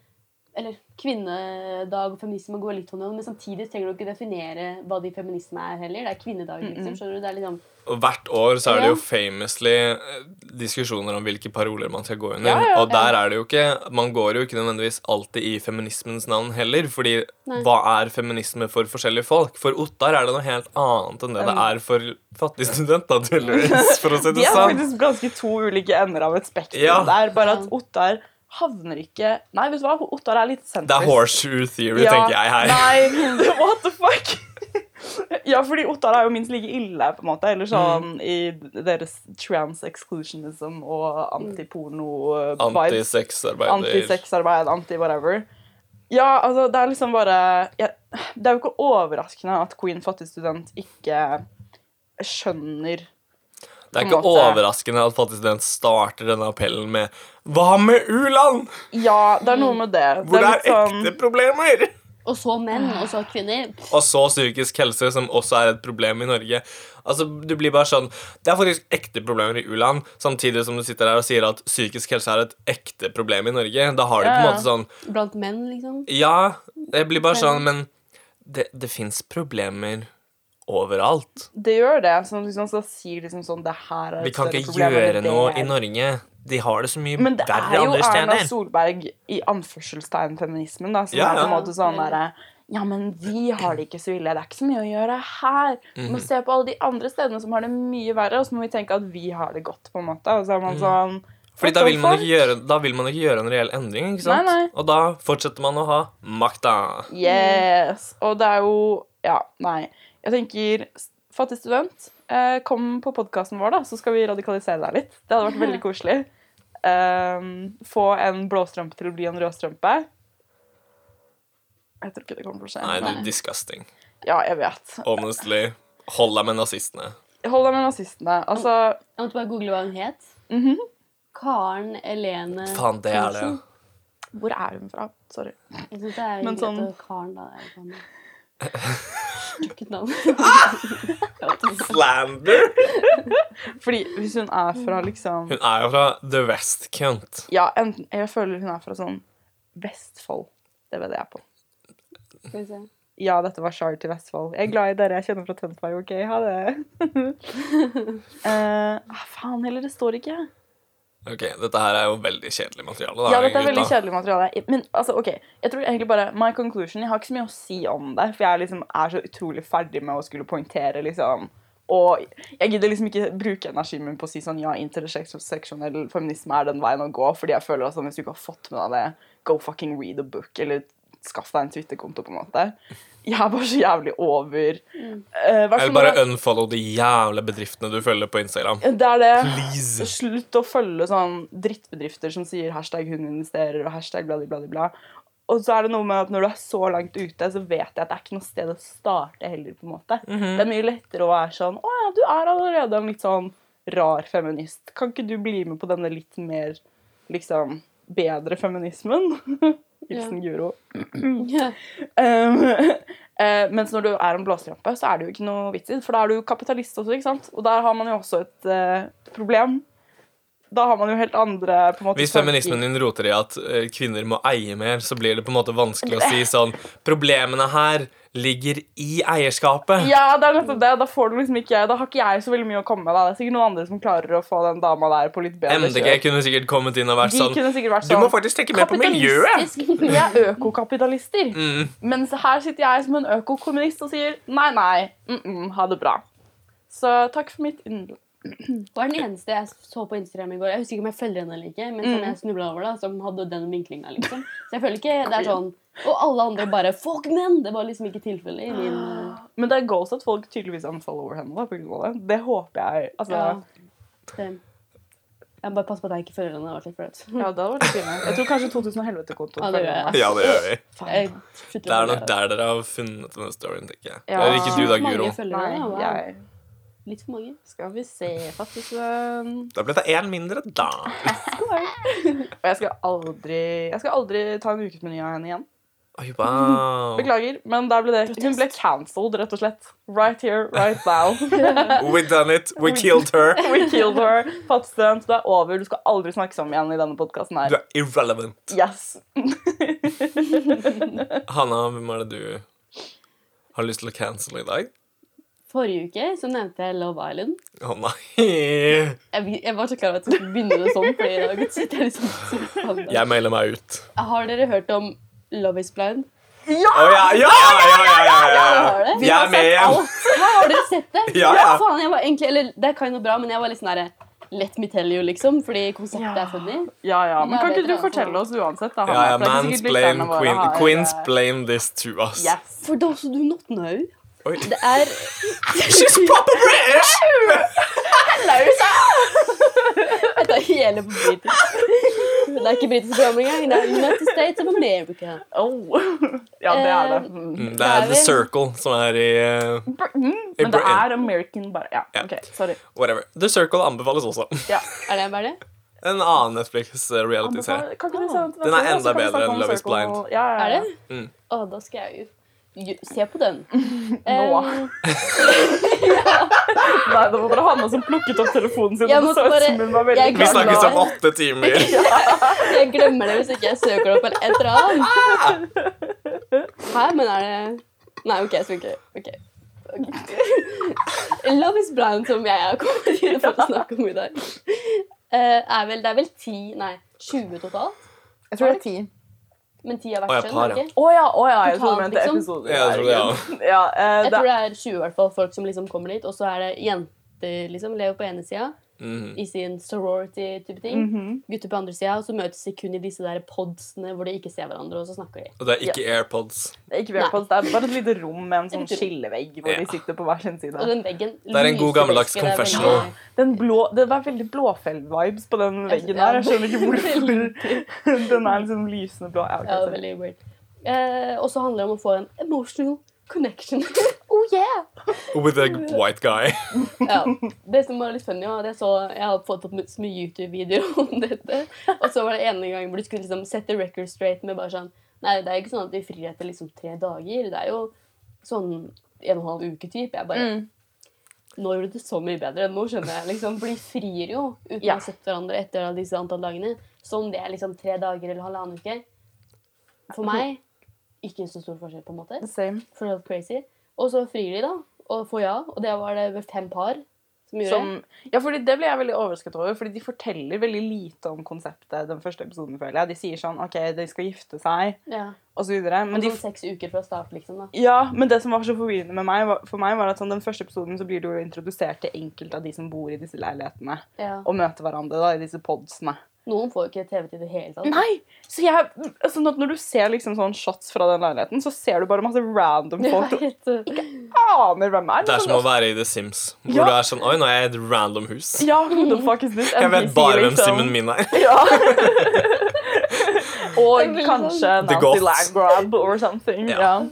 B: Eller kvinnedag og feminisme går litt hånd i hånd, men samtidig trenger du ikke definere hva de feminisme er heller. Det er kvinnedag, liksom. Skjønner du? Det er liksom
A: Og Hvert år så er det jo
B: Ja.
A: famously eh, diskusjoner om hvilke paroler man skal gå under.
C: Ja, ja,
A: Og der er det jo ikke Man går jo ikke nødvendigvis alltid i feminismens navn heller. Fordi
B: Nei.
A: hva er feminisme for forskjellige folk? For Ottar er det noe helt annet enn det det er for fattige studenter, tydeligvis. For å si
C: De
A: det
C: er
A: sånn.
C: faktisk ganske to ulike ender av et spekter.
A: Ja.
C: Det er bare at
B: Ja.
C: Ottar havner ikke Nei, vet du hva, Ottar er litt sentrist.
A: Det er horseshoe theory, tenker jeg her.
C: Nei, what the fuck? ja, fordi Ottar er jo minst like ille, på en måte. Eller
A: Mm.
C: sånn i deres trans-exclusionism og antiporno-vibes.
A: Antisexarbeider.
C: Antisexarbeid, anti-whatever. Ja, altså, det er liksom bare ja, Det er jo ikke overraskende at Queen Fattig Student ikke skjønner
A: Det er
C: på en
A: ikke
C: måte.
A: overraskende at Fattig student starter denne appellen med Hva med u-land?
C: Ja, det er noe med det.
A: Hvor det er
C: litt sånn-
A: ekte problemer?
B: Og så menn, og så kvinner. Pff,
A: Og så psykisk helse, som også er et problem i Norge. Altså, du blir bare sånn Det er faktisk ekte problemer i u-land, samtidig som du sitter her og sier at psykisk helse er et ekte problem i Norge. Da har du på en
C: Ja, ja.
A: måte sånn
B: Blant menn, liksom.
A: Ja, det blir bare sånn, men det, det fins problemer overalt.
C: Det gjør det. Som liksom, så sier liksom sånn Det her er
A: Vi
C: et
A: kan
C: større
A: ikke
C: problem enn
A: gjøre
C: det
A: noe
C: er.
A: i Norge. De har det så mye
C: Men det er
A: verre
C: jo
A: andre
C: Erna
A: steder.
C: Solberg i anførselstegn-feminismen, da, som
A: Ja,
C: er på en
A: ja.
C: måte sånn derre ja, men vi har det ikke så ille. Det er ikke så mye å gjøre her. Vi
A: Mhm.
C: må se på alle de andre stedene som har det mye verre, og så må vi tenke at vi har det godt, på en måte. Og så er man sånn
A: Mhm. Fordi
C: what
A: da
C: the
A: vil, man
C: fuck?
A: ikke gjøre, da vil man ikke gjøre en reell endring, ikke sant?
C: Nei, nei.
A: Og da fortsetter man å ha makta.
C: Yes! Og det er jo Ja, nei. Jeg tenker s- Fattig student, eh, kom på podkasten vår, da, så skal vi radikalisere deg litt. Det hadde vært veldig koselig. Um, få en blåstrømpe til å bli en rødstrømpe. Jeg tror ikke det kommer til å skje.
A: Nei,
C: men-
A: du, disgusting.
C: Ja, jeg vet.
A: Honestly. Hold deg med nazistene.
C: Hold deg med nazistene. Altså
B: Jeg måtte bare google hva hun het.
C: mhm.
B: Karen Elene
A: Mm-hmm. Faen, det er det.
B: Knudsen.
C: Hvor er hun fra? Sorry.
B: Jeg synes det er
C: Men
B: Men
C: sånn-
B: Karen, da. Er jo sånn Stykket navn. Jeg vet ikke.
A: Slander!
C: Fordi hvis hun er fra liksom
A: Hun er jo fra The West Cunt.
C: Ja, enten Jeg føler hun er fra sånn Vestfold. Det vet jeg på.
B: Skal vi se.
C: Ja, dette var Shard til Vestfold. Jeg er glad i dere. Jeg kjenner fra Tønsberg. OK, ha det. Eh, ah, faen heller, det står ikke.
A: Ok, Dette her er jo veldig kjedelig materiale. Da,
C: Ja, dette er
A: gutta.
C: veldig kjedelig materiale. Men altså, ok, jeg tror egentlig bare My conclusion, jeg har ikke så mye å si om det, for jeg liksom er så utrolig ferdig med å skulle poengtere, liksom. Og jeg gidder liksom ikke bruke energien min på å si sånn ja, interseksjonell feminisme er den veien å gå, fordi jeg føler at sånn, hvis du ikke har fått med deg det, go fucking read a book, eller skaff deg en Twitter-konto, på en måte. Jeg er bare så jævlig over eh, hvert
A: Eller
C: fall når
A: bare unfollow de jævla bedriftene du følger på Instagram.
C: jeg- Det er det.
A: Please!
C: Slutt å følge sånn drittbedrifter som sier hashtag hun investerer og hashtag bla, bla, bla, bla. Og så er det noe med at når du er så langt ute, så vet jeg at det er ikke noe sted å starte heller, på en måte. Det er mye lettere å være sånn Å ja, du er allerede en litt sånn rar feminist. Kan ikke du bli med på denne litt mer liksom bedre feminismen? Hilsen Guro.
A: Ah!
B: Ja.
C: Um, eh, mens når du er en blåserampe, så er det jo ikke noe vits i det. For da er du jo kapitalist også, ikke sant? Og der har man jo også et eh, problem. Da har man jo helt andre på en måte,
A: Hvis
C: tanker.
A: feminismen din roter i at eh, kvinner må eie mer, så blir det på en måte vanskelig å si sånn Problemene her ligger i eierskapet.
C: Ja, det er nettopp det. Da får du liksom ikke Da har ikke jeg så veldig mye å komme med. Da. Det er sikkert noen andre som klarer å få den dama der på litt bedre
A: MDG kunne sikkert kommet inn og vært
C: De
A: sånn
C: kunne sikkert vært
A: Du må
C: sånn
A: faktisk tenke mer på miljøet!
B: Kapitalistisk.
C: Vi er økokapitalister.
A: Mm.
C: Mens her sitter jeg som en økokommunist og sier nei, nei, mm -mm, ha det bra. Så takk for mitt innlegg.
B: var den eneste jeg så på Instagram i går. Jeg husker ikke om jeg følger henne eller ikke, men
A: Mm.
B: som jeg snubla over, da, som hadde den vinklinga, liksom. Så jeg føler ikke det er sånn Og alle andre bare Fuck men! Det var liksom ikke tilfellet i min eh,
C: Men det er goals at folk tydeligvis unfollower henne. da, på grunn av Det Det håper jeg. altså...
B: ja.
C: Ja.
B: det. Jeg bare passer på at jeg ikke følger henne. Det var litt flaut.
C: det hadde vært fint. Jeg tror kanskje 2000 og helvete-kontoen.
B: Ja, det gjør jeg.
A: Ja, det gjør vi.
B: Jeg slutter
A: Det
B: å
A: er
B: følge
A: nok der dere har funnet denne storyen, tenker jeg.
C: Ja.
A: Eller ikke du da,
B: Sjukt mange
A: Guro.
B: følgere,
C: Nei,
B: da, wow.
C: jeg
B: Litt for mange.
C: Skal vi se, fattigsvenn
A: Da ble det én mindre, da.
C: Og jeg skal aldri Jeg skal aldri ta en ukesmeny av henne igjen.
A: Oi, wow.
C: Beklager, men der ble det hun ble cancelled, rett og slett. Right here, right now.
A: We done it. We killed her.
C: We killed her. Fattigstønt, det er over. Du skal aldri snakke sammen igjen i denne podkasten
A: Du
C: her.
A: er irrelevant.
C: Yes.
A: Hanna, hvem er det du har lyst til å cancel i dag?
B: Forrige uke så nevnte jeg Love Island.
A: Å nei!
B: Jeg, jeg var så klar over at jeg skulle begynne med det sånn, for i dag sitter jeg liksom så faen.
A: Jeg melder meg ut.
B: Har dere hørt om Love is blind?
A: Å ja, ja, ja, ja, ja, ja,
B: var det. Vi
A: Jeg
B: har
A: er med
B: sett
A: igjen.
B: alt. Hva, har dere sett det?
A: Ja, ja.
B: faen, jeg var egentlig, eller, det er kind of bra, men jeg var litt sånn derre Let me tell you, liksom, fordi konseptet
C: Ja.
B: er funny.
C: Ja, ja. Men
B: Ja,
C: kan
B: det
C: ikke du
B: tror jeg
C: fortelle oss uansett? da,
A: Ja,
C: Hanna?
A: ja,
C: For det er ikke sikkert
A: mansplain
C: lytterne våre
A: queen.
C: har-
A: Queensplain this to us.
C: Yes.
B: For those who do not know,
A: Oi.
B: det er
A: She's proper British!
B: Dette er hele på britisk. Det er ikke britisk program engang. Det er United States of America.
C: Oh. Ja, det er det.
B: Eh,
C: Mm.
A: Mm, Det er
B: Det er
A: The
B: vel-
A: Circle som er i eh,
C: Britain. mm.
A: I
C: Men det
A: Britain.
C: er American bare. Ja,
A: Ja.
C: ok, sorry.
A: whatever. The Circle anbefales også.
C: Ja.
B: Er det bare det?
A: En annen eh, Netflix-reality-serie.
C: Kan ikke du se den til
A: Den er
C: neste gang, så
A: enda
C: kan vi
A: bedre
C: snakke
A: enn
C: om
A: Love is
C: Circle
A: Blind.
C: og- Ja, ja, ja.
B: Er det?
A: Mm.
B: Å, da skal jeg jo jo- se på den. Eh,
C: Nå. Nei, det var bare Hanna som plukket opp telefonen sin.
B: Jeg
C: og det
B: måtte
C: så ut
B: bare-
C: som hun var veldig
B: jeg
A: Vi
B: glad.
A: snakkes om åtte timer.
B: Jeg glemmer det hvis ikke jeg søker det opp eller et eller annet. Hæ, men er det Nei, OK, jeg skal ikke OK. Ok. Love is blind, som jeg har kommet til for å snakke om i dag. Eh, er vel, det er vel ti Nei, 20 totalt.
C: Jeg tror det er ti.
B: Men ti av
A: Å, ja,
B: hvert
A: par,
B: kjønn.
A: ja.
B: ikke?
C: Å ja, å ja, jeg tror du
B: Totalt,
C: mente
B: liksom.
C: episoden.
A: Ja, jeg tror det, ja.
C: Ja, eh,
B: Jeg
C: det
B: tror det er 20 i hvert fall folk som liksom kommer dit, og så er det jenter liksom lever på ene sida
A: Mhm.
B: i sin sorority-type ting.
C: Mhm.
B: Gutter på andre sida, og så møtes de kun i disse der podsene hvor de ikke ser hverandre, og så snakker de.
A: Og det er ikke AirPods.
C: det er ikke Airpods, det er bare et lite rom med en sånn
B: Et rom.
C: skillevegg hvor de
A: Ja.
C: sitter på hver sin
B: Og
C: side.
B: den veggen
A: Det er en god gammeldags
B: lyser, det er veldig-
A: confessional.
C: Den blå, det var veldig blåfell-vibes på den veggen
B: Ja.
C: der. Jeg skjønner ikke hvorfor. Den er liksom lysende blå. Ja, ok,
B: Ja, det var
C: sorry.
B: veldig weird. Eh, og så handler det om å få en emotional connection.
C: Oh yeah!
A: With a white guy.
B: ja. Det som var litt funny, var at jeg, så, jeg har fått opp så mye YouTube-videoer om dette. Og så var det ene gang hvor de skulle liksom sette record straight med bare sånn Nei, det er ikke sånn at de frir etter liksom tre dager. Det er jo sånn en og en halv uke type. Jeg
C: Mm.
B: bare Nå gjorde du det så mye bedre. Nå skjønner jeg, liksom. For de frir jo uten
C: Ja.
B: å ha sett hverandre etter alle disse antall dagene. Så om det er liksom tre dager eller halvannen uke For meg ikke så stor forskjell, på en måte.
C: Same.
B: For det var crazy. Og så frir de, da, og får ja. Og det var det vel fem par som gjorde.
C: Som, ja, fordi Det ble jeg veldig overrasket over, fordi de forteller veldig lite om konseptet den første episoden, føler jeg. De sier sånn OK, de skal gifte seg,
B: ja.
C: og så videre.
B: Men
C: Men de
B: sånn seks uker fra start, liksom. da.
C: Ja, men det som var så forvirrende med meg, var- for meg, var at sånn, den første episoden så blir du jo introdusert til enkelte av de som bor i disse leilighetene,
B: Ja.
C: og møter hverandre da, i disse podsene.
B: Noen får jo ikke TV-tid i det hele tatt.
C: Nei! Så jeg, sånn at når du ser liksom sånn shots fra den leiligheten, så ser du bare masse random folk du
B: Jeg vet, uh,
C: aner hvem er.
A: Det er
C: Sånn,
A: som å være i The Sims, hvor
C: Ja.
A: du er sånn Oi, nå er jeg i et random hus.
C: Ja, who the fuck is this?
A: Jeg vet
C: NPC,
A: bare hvem
C: liksom.
B: sånn.
A: simmen min er.
C: Ja.
B: Det er
C: Og
B: veldig
C: kanskje
A: The
C: Nancy
A: Goths.
C: Landgrab or something.
A: Ja.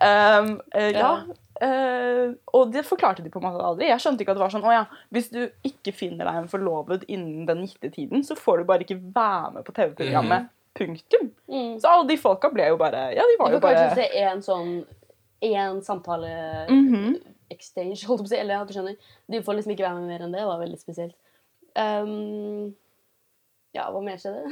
C: Ja. Um, eh, ja.
B: Ja.
C: eh, og det forklarte de på en måte aldri. Jeg skjønte ikke at det var sånn Å ja, hvis du ikke finner deg en forlovet innen den gitte tiden, så får du bare ikke være med på TV-programmet.
A: Mhm.
C: Punktum.
B: mm.
C: Så alle de folka ble jo bare Ja, de
B: Du
C: var jo
B: får
C: bare
B: kanskje se én sånn én samtale
C: Mhm.
B: exchange, holdt jeg på å si. Eller ja, du skjønner. De får liksom ikke være med mer enn det. Det var veldig spesielt. Ehm, ja, hva mer skjedde?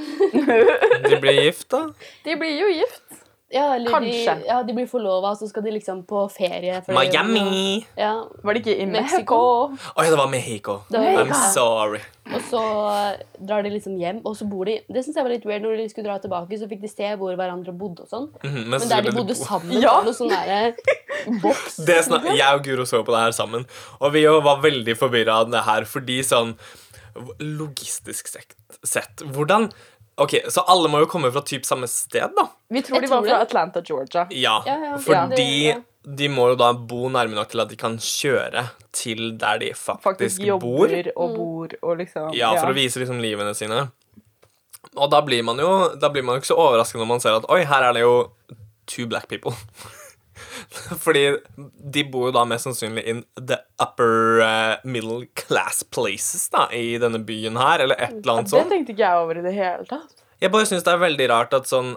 A: De ble gift, da.
C: De blir jo gift.
B: Ja, eller
C: Kanskje.
B: De, ja, de blir forlova, og så skal de liksom på ferie. for-
A: Miami!
B: Ja,
C: Var det ikke i Mexico?
B: Mexico.
A: Oi, det var Mexico.
B: det var,
A: I'm sorry.
B: Og så drar de liksom hjem, og så bor de Det synes jeg var litt weird. Når de skulle dra tilbake, så fikk de se hvor hverandre bodde og sånn.
A: Mhm, men så
B: Men der de
A: ble det
B: bodde
A: bo-
B: sammen,
C: Ja.
B: var noe sånn derre boks.
A: det snak- Jeg og Guro så på det her sammen, og vi jo var veldig forvirra av det her, fordi sånn Logistisk sekt- sett Hvordan Ok, Så alle må jo komme fra typ samme sted, da?
C: Vi tror
B: Jeg
C: de var
B: tror
C: fra
B: det.
C: Atlanta, Georgia.
A: Ja,
B: Ja, ja,
A: fordi
B: ja, det-
A: de må jo da bo nærme nok til at de kan kjøre til der de faktisk,
C: Faktisk
A: bor.
C: jobber og bor og liksom
A: Ja, for å vise liksom livene sine. Og da blir man jo Da blir man jo ikke så overrasket når man ser at Oi, her er det jo two black people. Fordi de bor jo da mest sannsynlig in the upper eh, middle class places da, i denne byen her, eller et eller annet
C: Det
A: sånt.
C: tenkte ikke jeg over i det hele tatt.
A: Jeg bare syns det er veldig rart at sånn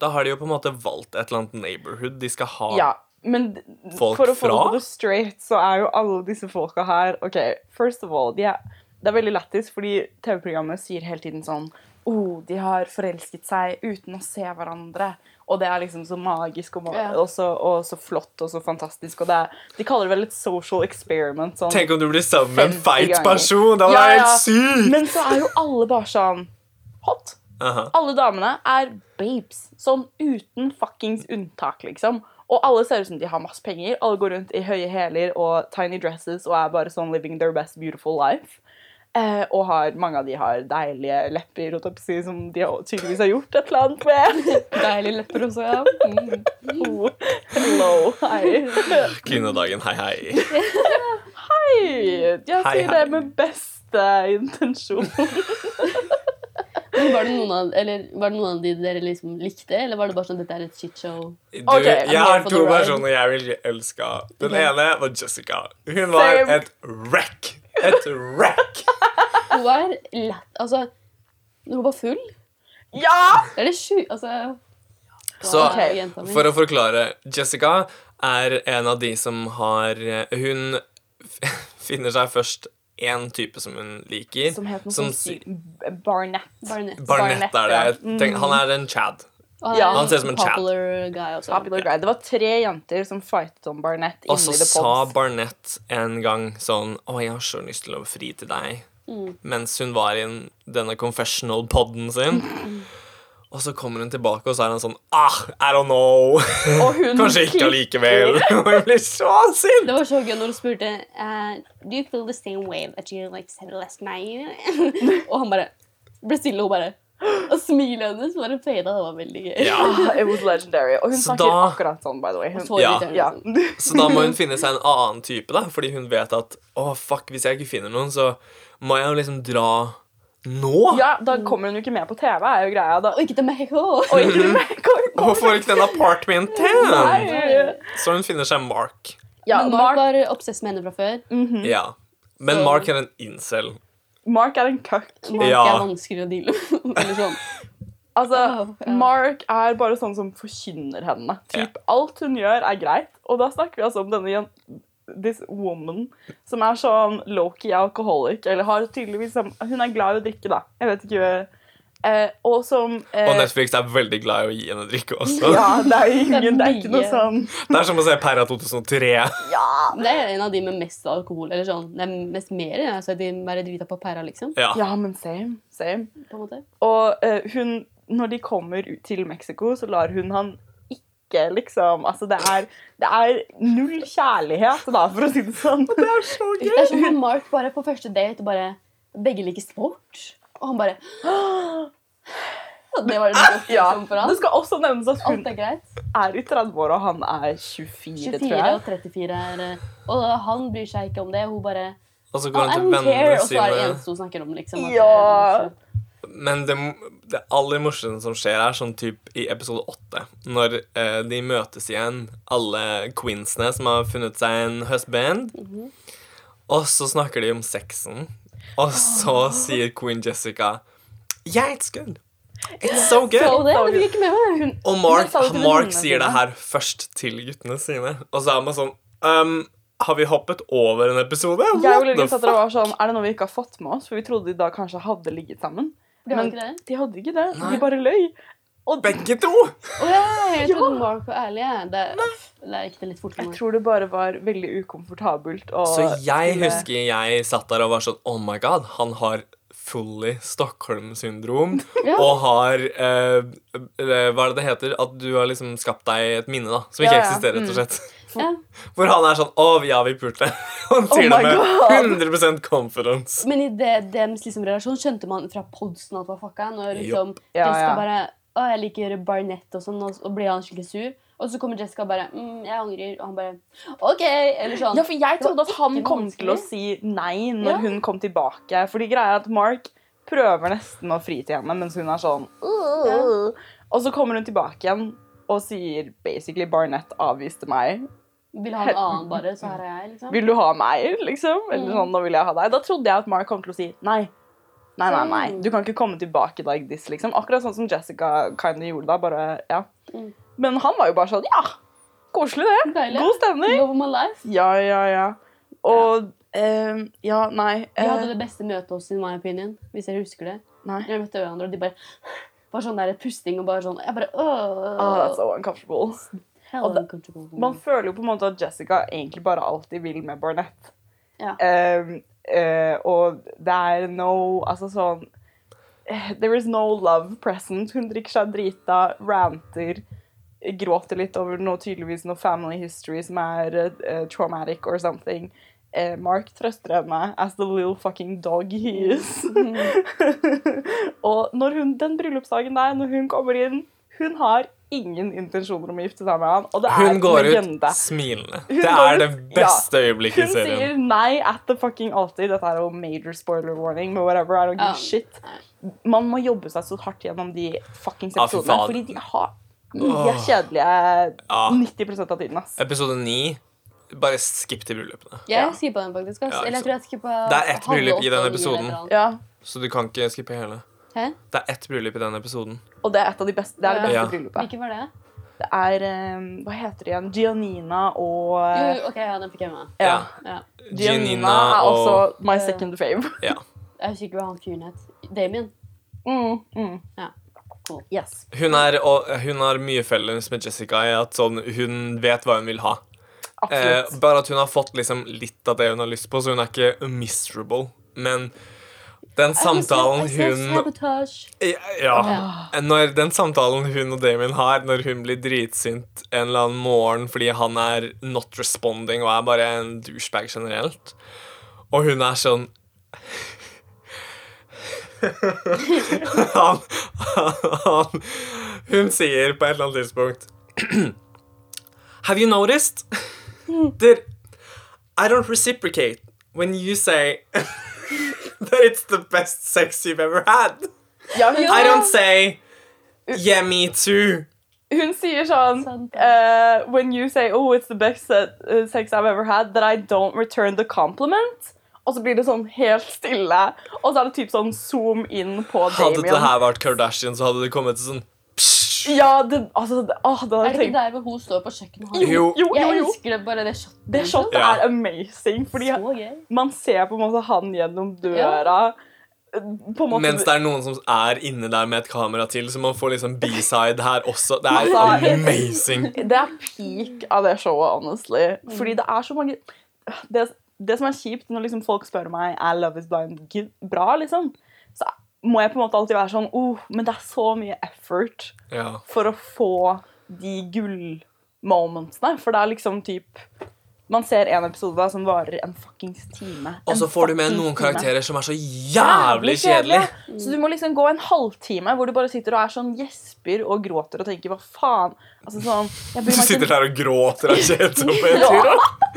A: Da har de jo på en måte valgt et eller annet neighborhood de skal ha.
C: Ja, men d-
A: Folk
C: for å få
A: fra?
C: det straight, så er jo alle disse folka her OK, first of all, de er, det er veldig lættis, fordi TV-programmet sier hele tiden sånn Oh, de har forelsket seg uten å se hverandre. Og det er liksom så magisk og, ma
B: Ja.
C: og, så, og så flott og så fantastisk. Og det er, de kaller det vel et social experiment. Sånn.
A: Tenk om du blir sammen med en
C: 50
A: feit
C: ganger.
A: person! Det hadde
C: Ja,
A: vært
C: ja.
A: helt sykt!
C: Men så er jo alle bare sånn hot.
A: Aha.
C: Alle damene er babes. Sånn uten fuckings unntak, liksom. Og alle ser ut som de har masse penger. Alle går rundt i høye hæler og tiny dresses og er bare sånn living their best beautiful life. Eh, og har, mange av de har deilige lepper holdt jeg på å si, som de har- tydeligvis har gjort et eller annet med.
B: Deilige lepper også, ja. Mm.
C: Oh, hello, hei.
A: Kvinnedagen, hei, hei.
C: Hei, jeg
A: Hei,
C: sier
A: hei.
C: det med beste intensjon.
B: Men Var det, noen av, eller, var det noen av de dere liksom likte, eller var det bare sånn dette er et shitshow?
A: Du,
C: Ok, I'm
A: jeg har
B: here for
A: to
B: the ride.
A: personer jeg vil elske. Den
B: Ok.
A: ene var Jessica. Hun var
C: Same.
A: et wreck. Et wreck.
B: Hun var lett Altså, når hun var full
C: Ja!
B: Det er det sju Altså
A: Så
B: wow, jenta mi.
A: for å forklare Jessica er en av de som har Hun f- finner seg først én type som hun liker.
C: Som het noe
A: som
C: sånn
A: si-
C: sy- Barnett.
B: Barnett.
A: Barnett er det.
C: Barnett, Mm.
A: Jeg tenker- han er en Chad.
B: Og han,
C: Ja,
B: er
A: han ser ut som en chat.
B: Popular guy også.
C: Popular guy. Det var tre jenter som fightet om Barnett
A: Og
C: inni
A: så
C: The
A: sa
C: Pods.
A: Barnett en gang sånn Å, jeg har så lyst til å fri til deg.
C: Mm.
A: Mens hun var i en- denne confessional podden sin.
C: Mm.
A: Og så kommer hun tilbake, og så er han sånn Ah, I don't know.
C: Og hun
A: Kanskje ikke
C: klikker.
A: allikevel. Og hun blir så sint.
B: Det var så gøy når hun spurte eh, Do you feel the same way that you like said last night? og han bare ble stille, og hun bare Og smilet hennes bare fada. Det var veldig gøy.
A: Ja.
C: Ah, It was legendary. Og hun
A: Så
C: snakker
A: da-
C: akkurat sånn, by the way. Hun...
B: Så
A: Ja.
B: irriterende,
C: Ja.
B: liksom.
A: Så da må hun finne seg en annen type, da. Fordi hun vet at Å, fuck, hvis jeg ikke finner noen, så må jeg jo liksom dra nå.
C: ja, da kommer hun jo ikke med på TV, er jo greia. Da.
B: Og ikke til Mexico.
C: Og ikke det med- kommer-
A: Hun
C: kommer-
A: får ikke den apartmenten.
C: Nei.
A: Så hun finner seg Mark.
C: Ja,
B: Men Mark
C: Mark,
B: var obsess med henne fra før.
C: Mhm.
A: Ja. Men
B: Så-
A: Mark er en incel.
C: Mark er en cuck.
B: Mark
A: Ja.
B: er vanskeligere å deale med. Eller sånn.
C: Altså,
B: Wow, ja.
C: Mark er bare sånn som forkynner henne. Typ, Alt hun gjør, er greit. Og da snakker vi altså om denne jen this woman som er sånn low-key alcoholic. Eller har tydeligvis Hun er glad i å drikke, da. Jeg vet ikke eh, og som eh,
A: Og Netflix er veldig glad i å gi henne drikke også.
C: Ja, det er, jo ingen, det er ikke noe
B: mye.
C: sånn
A: Det er som å se Perra 2003.
B: Det er en av de med mest alkohol. Eller sånn. Det er mest mer. ja, så de bare drita på pæra, liksom.
A: Ja.
C: Ja, men same. same.
B: På en måte.
C: Og eh, hun, når de kommer ut til Mexico, så lar hun han ikke, liksom Altså, det er, det er null kjærlighet, da, for å si det sånn. Det er så
B: Det er som om Mark bare på første date bare Begge liker sport. Og han bare «Åh!» Det var det beste
C: Ja,
B: liksom, for
C: Det
B: han.
C: skal også nevnes at hun
B: Alt er greit.
C: er i 30 år, og han er 24,
B: 24
C: tror jeg.
B: og 34 er eh, Og han bryr seg ikke om det. Hun bare
A: Og så går hun
B: I
A: til
B: don't care.
A: vennene
B: Og så er det
A: sine.
B: eneste hun snakker om, liksom. at
C: Ja.
B: det er-
A: Men det, det aller morsomste som skjer, er sånn typ i episode åtte. Når eh, de møtes igjen, alle queensene som har funnet seg en husband. Og så snakker de om sexen. Og så sier queen Jessica Yeah, it's good. It's so good.
B: Så det, det gikk med meg. Hun
A: Og Mark,
C: Men sa du til
A: Mark
C: venninnene
A: sier det
C: sine?
A: her først til guttene sine. Og så er man sånn «Ehm, Har vi hoppet over en episode?
C: Jeg og
A: What the
C: Lilly satt der og
A: fuck?»
C: var sånn Er det noe vi ikke har fått med oss? For vi trodde de da kanskje hadde ligget sammen.
B: De har
C: Men
B: ikke det?
C: de hadde ikke det.
A: Nei.
C: De bare løy. Og
A: Begge to!
B: Å ja, jeg
C: Ja.
B: trodde Mark var ærlig. jeg. Det, det gikk det litt fort for
C: jeg
B: meg.
C: tror det bare var veldig ukomfortabelt. Og
A: Så jeg
C: skulle-
A: husker jeg satt der og var sånn Oh my god, han har fully Stockholm-syndrom.
B: Ja.
A: Og har eh, eh, Hva er det det heter? At du har liksom skapt deg et minne da som
C: Ja, Mm.
A: ikke
C: ja.
A: eksisterer, rett og slett.
B: Ja.
A: Hvor han er sånn Å, ja, vi pulte. Han sier
C: Oh my
A: det med 100 confidence.
B: Men i det, deres liksom, relasjon skjønte man fra podsen at det var fucka. Når liksom,
C: Ja,
B: Jessica
C: ja.
B: bare Å, jeg liker Barnett og sånn, og, og blir han skikkelig sur. Og så kommer Jessica og bare mm, Jeg angrer. Og han bare OK. Eller sånn.
C: Ja, for jeg
B: Det var
C: trodde at han
B: ikke
C: kom til å
B: vanskelig.
C: si nei når
B: Ja.
C: hun kom tilbake. Fordi greia er at Mark prøver nesten å fri til henne mens hun er sånn
B: Ja.
C: Og så kommer hun tilbake igjen og sier basically Barnett avviste meg.
B: Vil ha en annen, bare. Så her er jeg, liksom.
C: Vil du ha meg, liksom? Eller
B: Mm.
C: sånn, nå vil jeg ha deg. Da trodde jeg at Mark kom til å si nei. Nei, nei, nei.
B: Mm.
C: Du kan ikke komme tilbake like this, liksom. Akkurat sånn som Jessica kind of gjorde da, bare, ja.
B: Mm.
C: Men han var jo bare sånn, ja, koselig det.
B: Deilig.
C: God stemning.
B: Love of my life.
C: Ja, ja, ja. Og, eh, ja, nei.
B: Vi
C: eh,
B: hadde det beste møtet oss, in my opinion, hvis jeg husker det.
C: nei.
B: Når vi møtte hverandre, og de bare var sånn der pusting og bare sånn Jeg bare
C: Ah,
B: Åh,
C: that's so uncomfortable.
B: hell
C: og det-
B: uncomfortable.
C: Man føler jo på en måte at Jessica egentlig bare alltid vil med Barnett.
B: Ja.
C: Ehm, eh, og det er no Altså sånn eh, There is no love present. Hun drikker seg drita, ranter, gråter litt over noe tydeligvis noe family history som er eh, traumatic or something. Eh, Mark trøster henne as the little fucking dog he is. og når hun, den bryllupsdagen der, når hun kommer inn Hun har ingen intensjoner om å gifte seg med han, og det er
A: Hun går ut
C: legende.
A: smilende.
C: Hun
A: Det
C: går
A: er
C: ut-
A: det beste øyeblikket i
C: Hun
A: serien.
C: sier nei at the fucking alltid. Dette er jo major spoiler warning, men whatever, I don't give
B: Ja.
C: a shit. Man må jobbe seg så hardt gjennom de fuckings
A: Ja, Ah, fy
C: episodene,
A: faen. Ah.
C: fordi de, har, de er kjedelige
A: Ja.
C: 90 av tiden, ass.
A: Episode ni. Bare skipp til bryllupene.
B: Jeg skippa den faktisk. ass.
A: Ja, ikke
B: Eller jeg tror jeg skippa
A: Det er ett
B: halve
A: bryllup i den
B: åtteåringen
A: episoden.
B: eller noe.
C: Ja,
A: Så du kan ikke skippe hele.
B: Hæ?
A: Det er ett bryllup i den episoden.
C: og det er et av de beste, det er det beste
A: Ja.
C: bryllupet.
B: Hvilken var det?
C: Det er, eh, hva heter det igjen, Giannina og...
B: Jo,
C: eh,
B: jo, ok, ja, den fikk jeg med meg.
C: Ja.
B: Ja.
C: Mm, Giannina er
A: og
C: også my second fave.
A: ja.
B: Jeg husker ikke hva han fyren het. Damien.
C: Mm, mm.
B: Ja. Cool.
C: Yes.
A: Hun, er, og, hun har mye felles med Jessica i at sånn, hun vet hva hun vil ha. Eh,
C: Absolutt.
A: bare at hun har fått liksom, litt av det hun har lyst på, så hun er ikke miserable. Men den samtalen hun
B: Sabotage.
A: Eh, Ja. Når den samtalen hun og Damien har, når hun blir dritsint en eller annen morgen fordi han er not responding og er bare en douchebag generelt, og hun er sånn han, han, Hun sier på et eller annet tidspunkt Have you noticed that I don't reciprocate when you say that it's the best sex you've ever had?
C: Ja, hun,
A: I don't say Yeah, me too.
C: hun sier sånn
B: Sant.
C: eh, When you say Oh, it's the best se- eh, sex I've ever had That I don't return the compliment Og så blir det sånn helt stille Og så er det typ sånn zoom inn på
A: Hadde
C: Damien
A: det her vært Kardashian, så hadde det kommet sånn psh.
C: Ja, det, altså det, åh, det hadde
B: Er
C: jeg
B: det ikke
C: tenkt
B: der hvor hun står på kjøkkenet? og har-
A: Jo.
C: Jo, jo,
B: Jeg
C: jo
B: elsker det bare det shotet.
C: Det shotet
A: Ja.
C: er amazing Fordi
B: Så gøy.
C: man ser på en måte han gjennom
B: Ja.
C: døra Eh, på en måte
A: Mens det er noen som er inne der med et kamera til, så man får liksom B-side her også. Det er
C: Altså-
A: amazing.
C: Det er peak av det showet, honestly.
A: Mm.
C: Fordi det er så mange Det, det som er kjipt når liksom folk spør meg er Love is blind gi- bra, liksom, så må jeg på en måte alltid være sånn oh, Men det er så mye effort
A: Ja.
C: for å få de gullmomentsene. For det er liksom typ Man ser en episode da som varer en fuckings time.
A: Og
C: En
A: så får du med
C: fuckings
A: noen
C: time.
A: karakterer som er så jævlig kjedelige.
C: Så du må liksom gå en halvtime hvor du bare sitter og er sånn gjesper og gråter og tenker hva faen. Altså sånn, jeg
A: Du
C: bryr meg ikke
A: sitter der og gråter av kjedsomhet.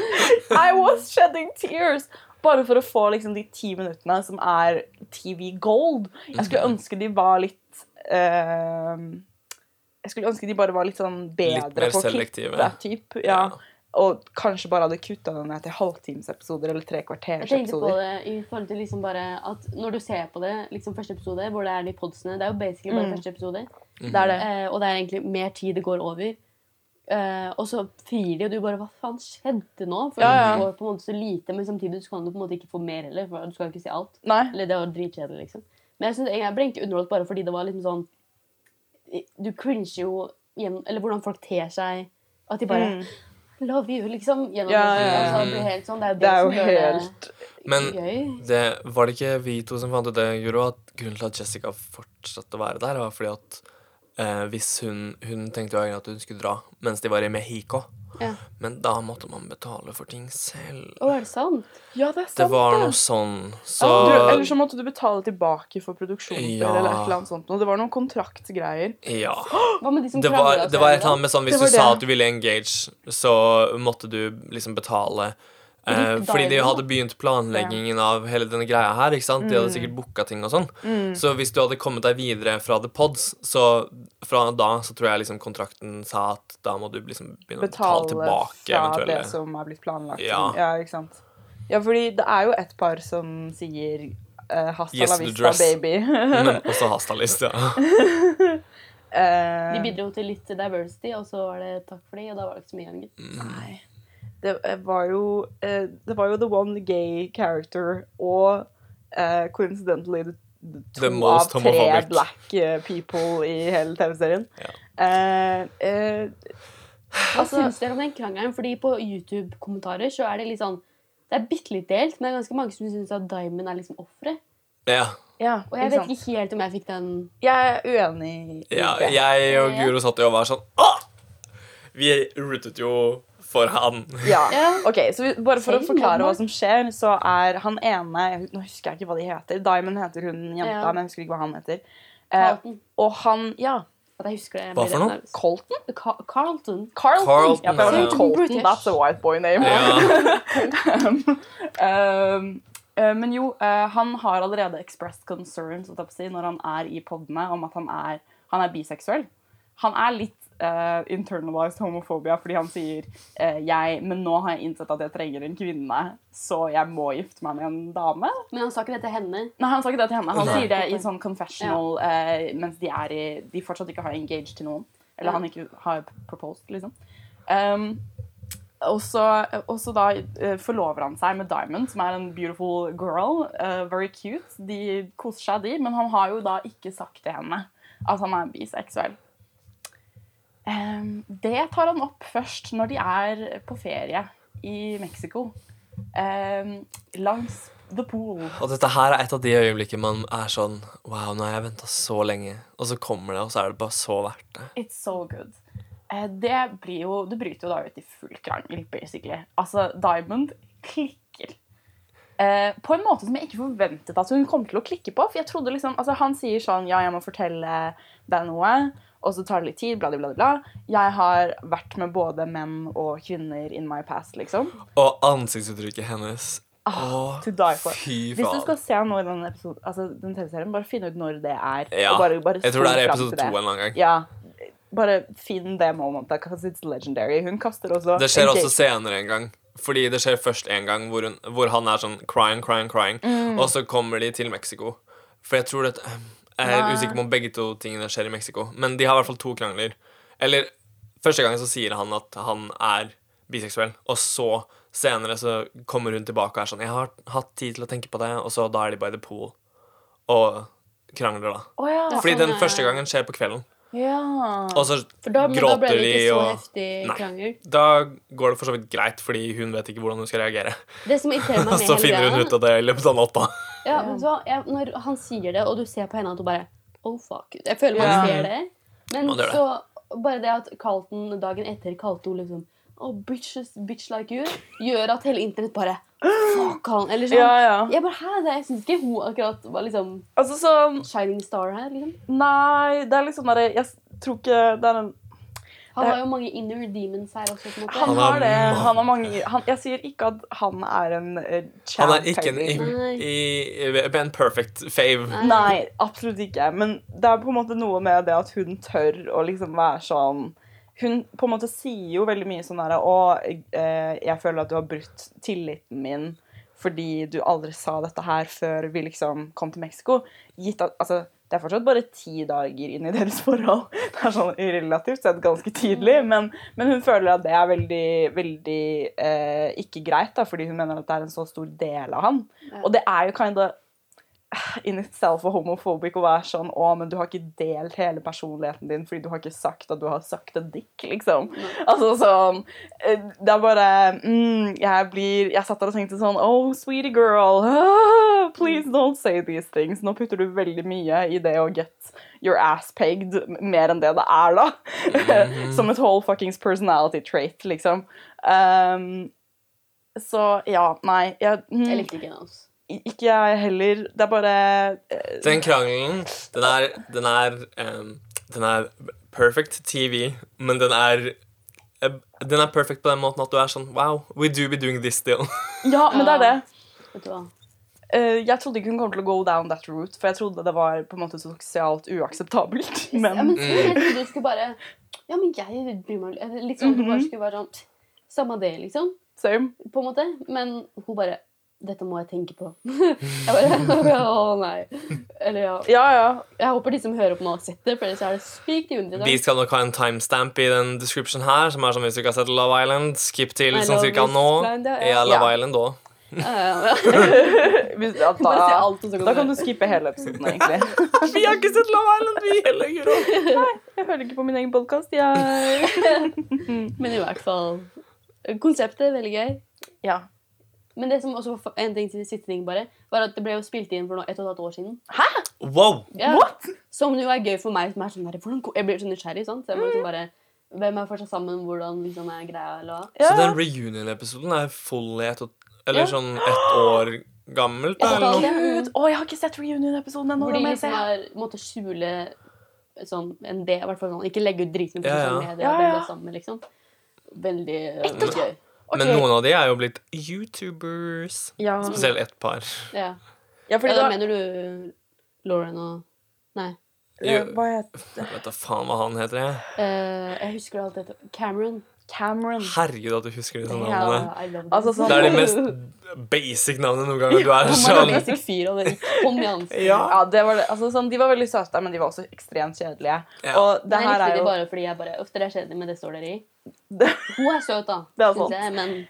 C: I was shedding tears. Bare for å få liksom, de ti minuttene som er TV gold. Jeg skulle
A: Mm.
C: ønske de var litt ehm, Jeg skulle ønske de bare var litt sånn bedre
A: Litt mer
C: på å
A: selektive.
C: klippe. Typ, ja.
A: Ja.
C: Og kanskje bare hadde kutta det ned til halvtimesepisoder eller tre
B: Jeg tenkte på
C: kvartersepisoder.
B: det i forhold til liksom bare at når du ser på det, liksom første episode, hvor det er de podsene Det er jo basically bare
C: Mm.
B: første episode,
C: Det er det.
B: eh, og det er egentlig mer tid det går over. Eh, og så frir de, og du bare Hva faen skjedde nå? For
C: Ja, ja.
B: du får på en måte så lite, men samtidig så kan du på en måte ikke få mer heller. For du skal jo ikke si alt.
C: Nei.
B: Eller det var dritkjedelig, liksom. Men jeg, synes, jeg ble egentlig underholdt bare fordi det var liksom sånn Du cringer jo gjennom Eller hvordan folk ter seg. At de bare
C: Mm.
B: Love you, liksom. Gjennom
C: Ja, ja, ja.
B: Altså, det, blir helt sånn, det er jo det,
C: Det er jo
B: som gjør
C: helt
B: det
A: Men-
B: gøy.
A: Det, var det ikke vi to som fant ut det, Guro, at grunnen til at Jessica fortsatte å være der, var fordi at eh, hvis hun, hun tenkte jo egentlig at hun skulle dra mens de var i Mexico,
B: Ja.
A: men da måtte man betale for ting selv.
B: Å, er det sant?
C: Ja, det er
A: Det
C: sant.
A: var
C: det.
A: noe sånn, så
C: Du, eller så måtte du betale tilbake for produksjonsdel
A: Ja.
C: eller et eller annet sånt. Og det var noen kontraktgreier.
A: Ja.
B: Hva med de som
A: Det var,
B: krangler
A: det var et eller annet med sånn Hvis
C: Det var
A: du sa
C: det.
A: at du ville engage, så måtte du liksom betale. Eh,
B: Riktig
A: fordi de
B: dagen,
A: hadde begynt planleggingen av hele denne greia her. ikke sant? De
C: Mm.
A: hadde sikkert booka ting og sånn. Så hvis du hadde kommet deg videre fra The Pods, så fra da så tror jeg liksom kontrakten sa at da må du liksom begynne å betale
C: Betale
A: tilbake
C: fra
A: eventuelle
C: det som er blitt planlagt. Ja.
A: Ja.
C: ikke sant. Ja, fordi det er jo et par som sier eh, Hasta
A: Yes,
C: la
A: the
C: vista,
A: dress.
C: baby.
A: Men også hastalist, ja.
C: Eh,
B: De bidro til litt diversity, og så var det takk for de, og da var det ikke så mye igjen.
A: Mm.
B: gitt.
C: Nei. Det eh, var jo eh, Det var jo the one gay character og eh, coincidentally the, the to
A: The most
C: av tre
A: homophobic.
C: black eh, people i hele TV-serien.
A: Ja.
C: Eh, eh,
B: Hva syns dere om den krangelen? Fordi på YouTube-kommentarer så er det litt sånn Det er bitte litt delt, men det er ganske mange som syns at Diamond er liksom offeret.
A: ja.
C: ja,
B: Og jeg
C: ikke
B: vet
C: sant?
B: ikke helt om jeg fikk den
C: Jeg er uenig i
A: ja.
C: det.
A: Jeg og
B: Ja.
A: Guro satt jo og var sånn Å! Vi rootet jo for han.
C: Ja.
B: Ja.
C: Ok, så vi, Bare for å
B: Same
C: forklare hva
B: Denmark.
C: som skjer, så er han ene jeg- Nå husker jeg ikke hva de heter. Diamond heter hun jenta,
B: Ja.
C: men jeg husker ikke hva han heter. Eh,
B: Carlton.
C: og han Ja,
B: At jeg husker det. jeg
A: Hva
B: blir
A: for
B: rett
A: noe?
B: nervøs.
C: Colton?
B: Ca- Carlton.
C: Carlton.
A: Carlton,
C: ja, for jeg var
A: ja.
C: sånn, Colton
B: British.
C: that's a white boy name.
A: Ja.
C: Um, eh, men jo, eh, han har allerede expressed concerns holdt jeg på å si, når han er i podene om at han er, han er biseksuell. Han er litt eh, internalized homofobia fordi han sier eh, jeg, men nå har jeg innsett at jeg trenger en kvinne, så jeg må gifte meg med en dame.
B: Men han sa ikke det til henne.
C: Nei, han sa ikke det til henne. Han
A: Nei.
C: sier det i sånn confessional eh, mens de, er i, de fortsatt ikke har engaged til noen. Eller
B: Ja.
C: han ikke har proposed, liksom. Um, og så og så da eh, forlover han seg med Diamond, som er en beautiful girl. eh, very cute. De koser seg, de. Men han har jo da ikke sagt til henne at han er biseksuell. Um, det tar han opp først når de er på ferie i Mexico. Um, langs the pool.
A: Og dette her er et av de øyeblikkene man er sånn Wow, nå har jeg venta så lenge. Og så kommer det, og så er det bare så verdt det.
C: It's so good. Eh, Det, blir jo, det bryter jo da ut i full krangel, basically. Altså, Diamond klikker. Eh, på en måte som jeg ikke forventet at hun kom til å klikke på. For jeg trodde liksom, altså Han sier sånn Ja, jeg må fortelle deg noe. Og så tar det litt tid, bla, bla, bla. bla. Jeg har vært med både menn og kvinner in my past, liksom.
A: Og ansiktsuttrykket hennes Å,
C: Ah, to die for.
A: Fy
C: Hvis du skal
A: faen.
C: se noe i den episoden, altså den TV-serien, bare finn ut når det er.
A: Ja.
C: og bare, bare
A: Jeg tror det
C: spol
A: er
C: fram
A: episode
C: til
A: to
C: det.
A: en eller annen gang.
C: Ja, bare finn det momentet, because it's legendary. Hun kaster også
A: Det skjer
C: en
A: også
C: gate-
A: senere en gang. Fordi det skjer først en gang hvor, hun, hvor han er sånn crying, crying, crying.
B: Mm.
A: Og så kommer de til Mexico. For jeg tror det Jeg er
C: Nei.
A: usikker på om begge to tingene skjer i Mexico. Men de har i hvert fall to krangler. Eller første gang så sier han at han er biseksuell, og så senere så kommer hun tilbake og er sånn 'Jeg har hatt tid til å tenke på det', og så da er de by the pool. og krangler, da.
C: Å ja.
B: Ja.
A: Fordi
B: sånn
A: den
B: er-
A: første gangen skjer på kvelden.
C: Ja.
A: Og så
B: For da, men da ble
A: Gråter
B: det ikke
A: de
B: så
A: og-
B: heftig
A: Nei.
B: krangel.
A: da går det for så vidt greit, fordi hun vet ikke hvordan hun skal reagere.
B: Det som irriterer
A: Og
B: meg med
A: så
B: hele
A: finner
B: greia,
A: hun ut av det i løpet av natta.
B: Ja, vet du hva? Jeg, når han sier det, og du ser på henne at hun bare Oh, fuck. it». Jeg føler man
C: Ja.
B: ser det. Men
A: Man gjør det.
B: så bare det at Carlton dagen etter kalte henne liksom Oh, bitches, bitch like you, gjør at hele internett bare Fuck han. Eller sånn.
C: ja, ja.
B: Jeg bare, Hæ, det, jeg syns ikke hun akkurat var liksom
C: Altså sånn
B: shining star her. liksom.
C: Nei, det er liksom bare Jeg s- tror ikke det er en
B: Han
C: Det-
B: har jo mange inner demons her også. på en måte.
C: Han
A: har
C: har det.
A: mange-
C: Han har mange han, Jeg sier ikke at han er en eh,
A: Han
C: champ.
A: er ikke en, i,
B: Nei.
A: i, en perfect fave.
C: Nei, absolutt ikke. Men det er på en måte noe med det at hun tør å liksom være sånn Hun på en måte sier jo veldig mye sånn her Å, eh, jeg føler at du har brutt tilliten min fordi du aldri sa dette her før vi liksom kom til Mexico. Gitt at Altså, det er fortsatt bare ti dager inn i deres forhold. Det er sånn relativt sett ganske tidlig, men, men hun føler at det er veldig, veldig eh, ikke greit, da, fordi hun mener at det er en så stor del av han.
B: Ja.
C: Og det er jo kinda in itself og homophobic å være sånn Å, men du har ikke delt hele personligheten din fordi du har ikke sagt at du har sagt en dick, liksom. Altså sånn eh, Det er bare mm, Jeg blir Jeg satt der og tenkte sånn Oh, sweetie girl, ah, please don't say these things. Nå putter du veldig mye i det å get your ass pegged m- mer enn det det er, da. Som et whole fuckings personality trait, liksom. Um, så ja, nei. Jeg, mm,
B: Jeg likte ikke henne. Altså.
C: ikke jeg heller. Det er bare eh,
A: Den krangelen, den er, den er, em, den er perfect TV, men den er eh, den er perfect på den måten at du er sånn Wow, we do be doing this still.
C: Ja, men det er det.
B: Vet du hva?
C: Eh, jeg trodde ikke hun kom til å go down that route, for jeg trodde det var på en måte sosialt uakseptabelt.
B: Ja, men
C: Men
B: så jeg
A: Mm.
B: trodde du skulle bare Ja, men jeg bryr meg eller Litt sånn at du bare skulle være sånn «Pff, Samme det, liksom.
C: same.
B: På en måte. Men hun bare Dette må jeg tenke på. Jeg bare Å, nei. Eller ja.
C: Ja, ja.
B: Jeg håper de som hører på nå, har sett det, for ellers er det sykt uinteressant.
A: Vi skal nok ha en timestamp i den description her, som er som hvis du ikke har sett Love Island. Skip til
B: Nei,
A: sånn
B: Love
A: cirka
B: is
A: nå.
B: Blind, ja, ja.
A: Ja, Love
C: Ja.
A: Island da.
B: Ja, ja, ja.
C: Hvis- ja,
B: Bare se
C: Da,
B: alt, og så
C: da kan
B: du
C: du skippe hele episoden, egentlig.
A: Vi har ikke sett Love Island, vi heller, Guro.
C: Jeg hører ikke på min egen podkast. Jeg
B: Men i hvert fall Konseptet er veldig gøy.
C: Ja.
B: Men det som også var en ting til siste ting, bare, var at det ble jo spilt inn for nå ett og et halvt år siden.
A: Wow!
B: Ja.
C: What?!
B: Som jo er gøy for meg, som er sånn der, hvordan, jeg blir så nysgjerrig. sant? Så jeg må liksom
C: Mm.
B: bare, Hvem er fortsatt sammen? Hvordan liksom er greia? eller hva?
C: Ja.
A: Så den reunion-episoden er full i et og- Eller
C: Ja.
A: sånn ett år gammelt,
B: Ja,
A: da, eller noe?
B: det-
C: Gud, Å, jeg har ikke sett reunion-episoden ennå.
B: Hvor
C: det
B: de
C: må jeg
B: liksom
C: se.
B: har måttet skjule sånn, en del, i hvert fall sånn, ikke legge ut dritmye på
A: Ja, ja.
B: sosiale medier.
C: Ja,
B: og hvem
C: ja.
B: de er sammen med, liksom. Veldig
C: Ett og et
B: øh, gøy.
C: Ok.
A: Men noen av de er jo blitt YouTubers.
C: Ja,
A: Spesielt ett par.
B: Ja.
C: ja fordi
B: ja, da
C: da
B: mener du Lauren og Nei.
C: Eh,
A: Jo,
C: Hva heter
A: jeg vet da faen hva han heter. Jeg.
B: øh, jeg husker alt dette. Cameron.
C: Cameron.
A: Herregud, at du husker disse
C: Ja.
A: navnene.
B: I love
C: Altså,
B: this.
C: sånn-
A: Det er de mest basic navnene noen ganger. Du er
B: Han var en
A: sånn
B: basic fyr, og det gikk hånd i ansikt.
A: Ja.
C: liksom- Ja, det var det. Altså, sånn, de var veldig søte, men de var også ekstremt kjedelige.
A: Ja.
C: Og det
B: Men jeg
C: her
B: likte
C: er
B: det
C: jo
B: bare fordi jeg bare Uff, dere er kjedelige, men det står dere i.
C: Det-
B: Hun er søt, da.
C: Det er
B: synes
C: sant.
B: jeg, men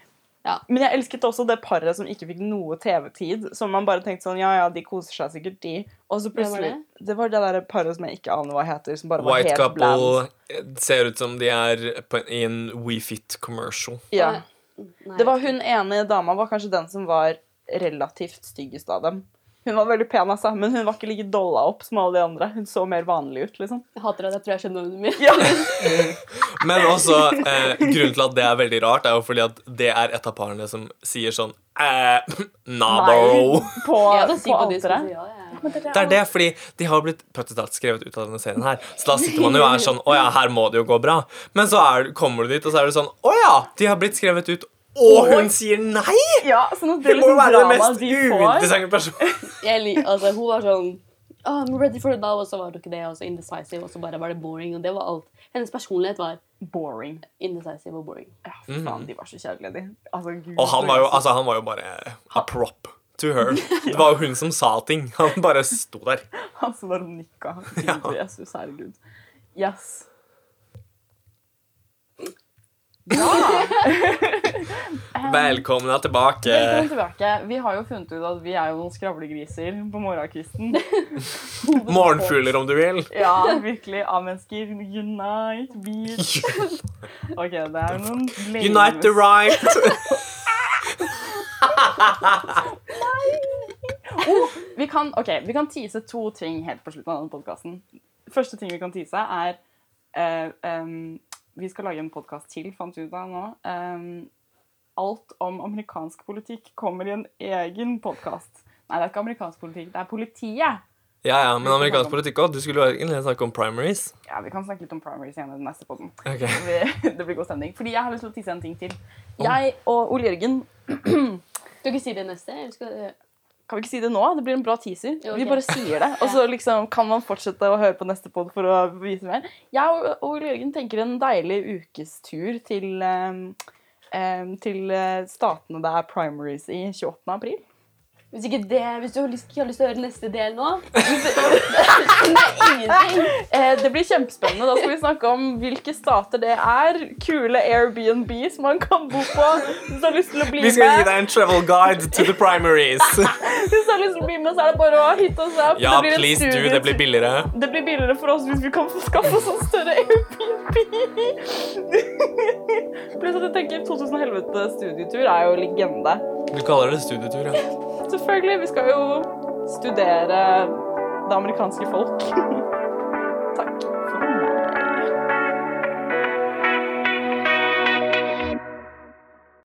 C: Men jeg elsket også det paret som ikke fikk noe TV-tid. Som man bare tenkte sånn Ja, ja, de koser seg sikkert, de. Og så plutselig
B: Hvem
C: Det var det der paret som jeg ikke aner hva heter, som bare var
A: White
C: helt bland.
A: couple ser ut som de er på, i en WeFit commercial.
C: Ja.
B: nei.
C: Det var hun ene dama var kanskje den som var relativt styggest av dem. Hun var veldig pen, altså, men hun var ikke like dolla opp som alle de andre. Hun så mer vanlig ut, liksom.
B: Jeg hater at jeg tror jeg skjønner hvem du mener.
C: Ja,
A: Men også eh, grunnen til at det er veldig rart, er jo fordi at det er et av parene som sier sånn eh,
C: Nei,
A: Nabo.
C: på,
B: Jeg er så syk
C: på
B: på de som sier
C: alteret.
B: ja, ja, ja.
A: Det er det, fordi de har blitt praktisk talt skrevet ut av denne serien her. Så da sitter man jo og er sånn Å ja, her må det jo gå bra. Men så er, kommer du dit, og så er det sånn Å ja, de har blitt skrevet ut, og hun sier nei!
C: Ja, sånn at det er
A: Det må jo
C: liksom
A: være
C: drama
A: den mest
C: de får.
A: uinteressante personen.
B: Jeg lik- altså, hun var sånn «Ah, I'm ready for it now, og så var det ikke det. Og så indecisive, og så bare var det boring. Og det var alt. Hennes personlighet var
C: Boring.
B: indecisive og boring.
C: Ja, fy faen, de var så kjedelige, de. Altså, Gud,
A: Mhm. Og han var jo, altså, han var jo bare a prop to her. Det var jo hun som sa ting. Han bare sto der.
C: Han som bare nikka. Gud, Jesus, herregud. Yes. Eh,
A: Velkomne tilbake.
C: Velkommen tilbake. Vi har jo funnet ut at vi er jo noen skravlegriser på morgenkvisten.
A: Morgenfugler, om du vil.
C: Ja, virkelig. A-mennesker. Unite, beat. Ok, det er noen
A: Unite the right.
C: Oh, Vi kan, ok, vi kan tease to ting helt på slutten av denne podkasten. Første ting vi kan tease, er eh, em, Vi skal lage en podkast til, fant vi ut av nå. Em, alt om amerikansk politikk kommer i en egen podkast. Nei, det er ikke amerikansk politikk, det er politiet.
A: Ja, ja, men amerikansk politikk òg. Du skulle jo egentlig snakke om primaries.
C: Ja, Vi kan snakke litt om primaries igjen i den neste podden.
A: Ok.
C: Vi- Det blir god stemning. Fordi jeg har lyst til å tisse en ting til. Jeg og Ole Jørgen
B: Skal ikke si det neste? eller Skal,
C: Kan vi ikke si det nå? Det blir en bra teaser.
B: Jo, ok.
C: Vi bare sier det. Og så liksom, kan man fortsette å høre på neste pod for å vise mer. Jeg og og Ole Jørgen tenker en deilig ukestur til, ehm, ehm, til eh, statene det er primaries i 28. april.
B: hvis ikke det, hvis du har lyst, ikke har lyst til å høre neste del nå Nei, ingenting.
C: Eh, det blir kjempespennende. Da skal vi snakke om hvilke stater det er. Kule Airbnbs man kan bo på hvis du har lyst til å bli
A: Vi skal gi
C: med.
A: deg en travel guide to the primaries.
C: Hvis du har lyst til å bli med, så er det bare å hitte oss opp.
A: Ja,
C: blir en
A: please do.
C: studietur.
A: Det blir billigere.
C: Det blir billigere for oss hvis vi kan få skaffe oss en større Airbnb. Pluss at jeg tenker 2000 helvete studietur er jo legende.
A: Du kaller det studietur, ja.
C: Selvfølgelig, vi skal jo studere det amerikanske folk.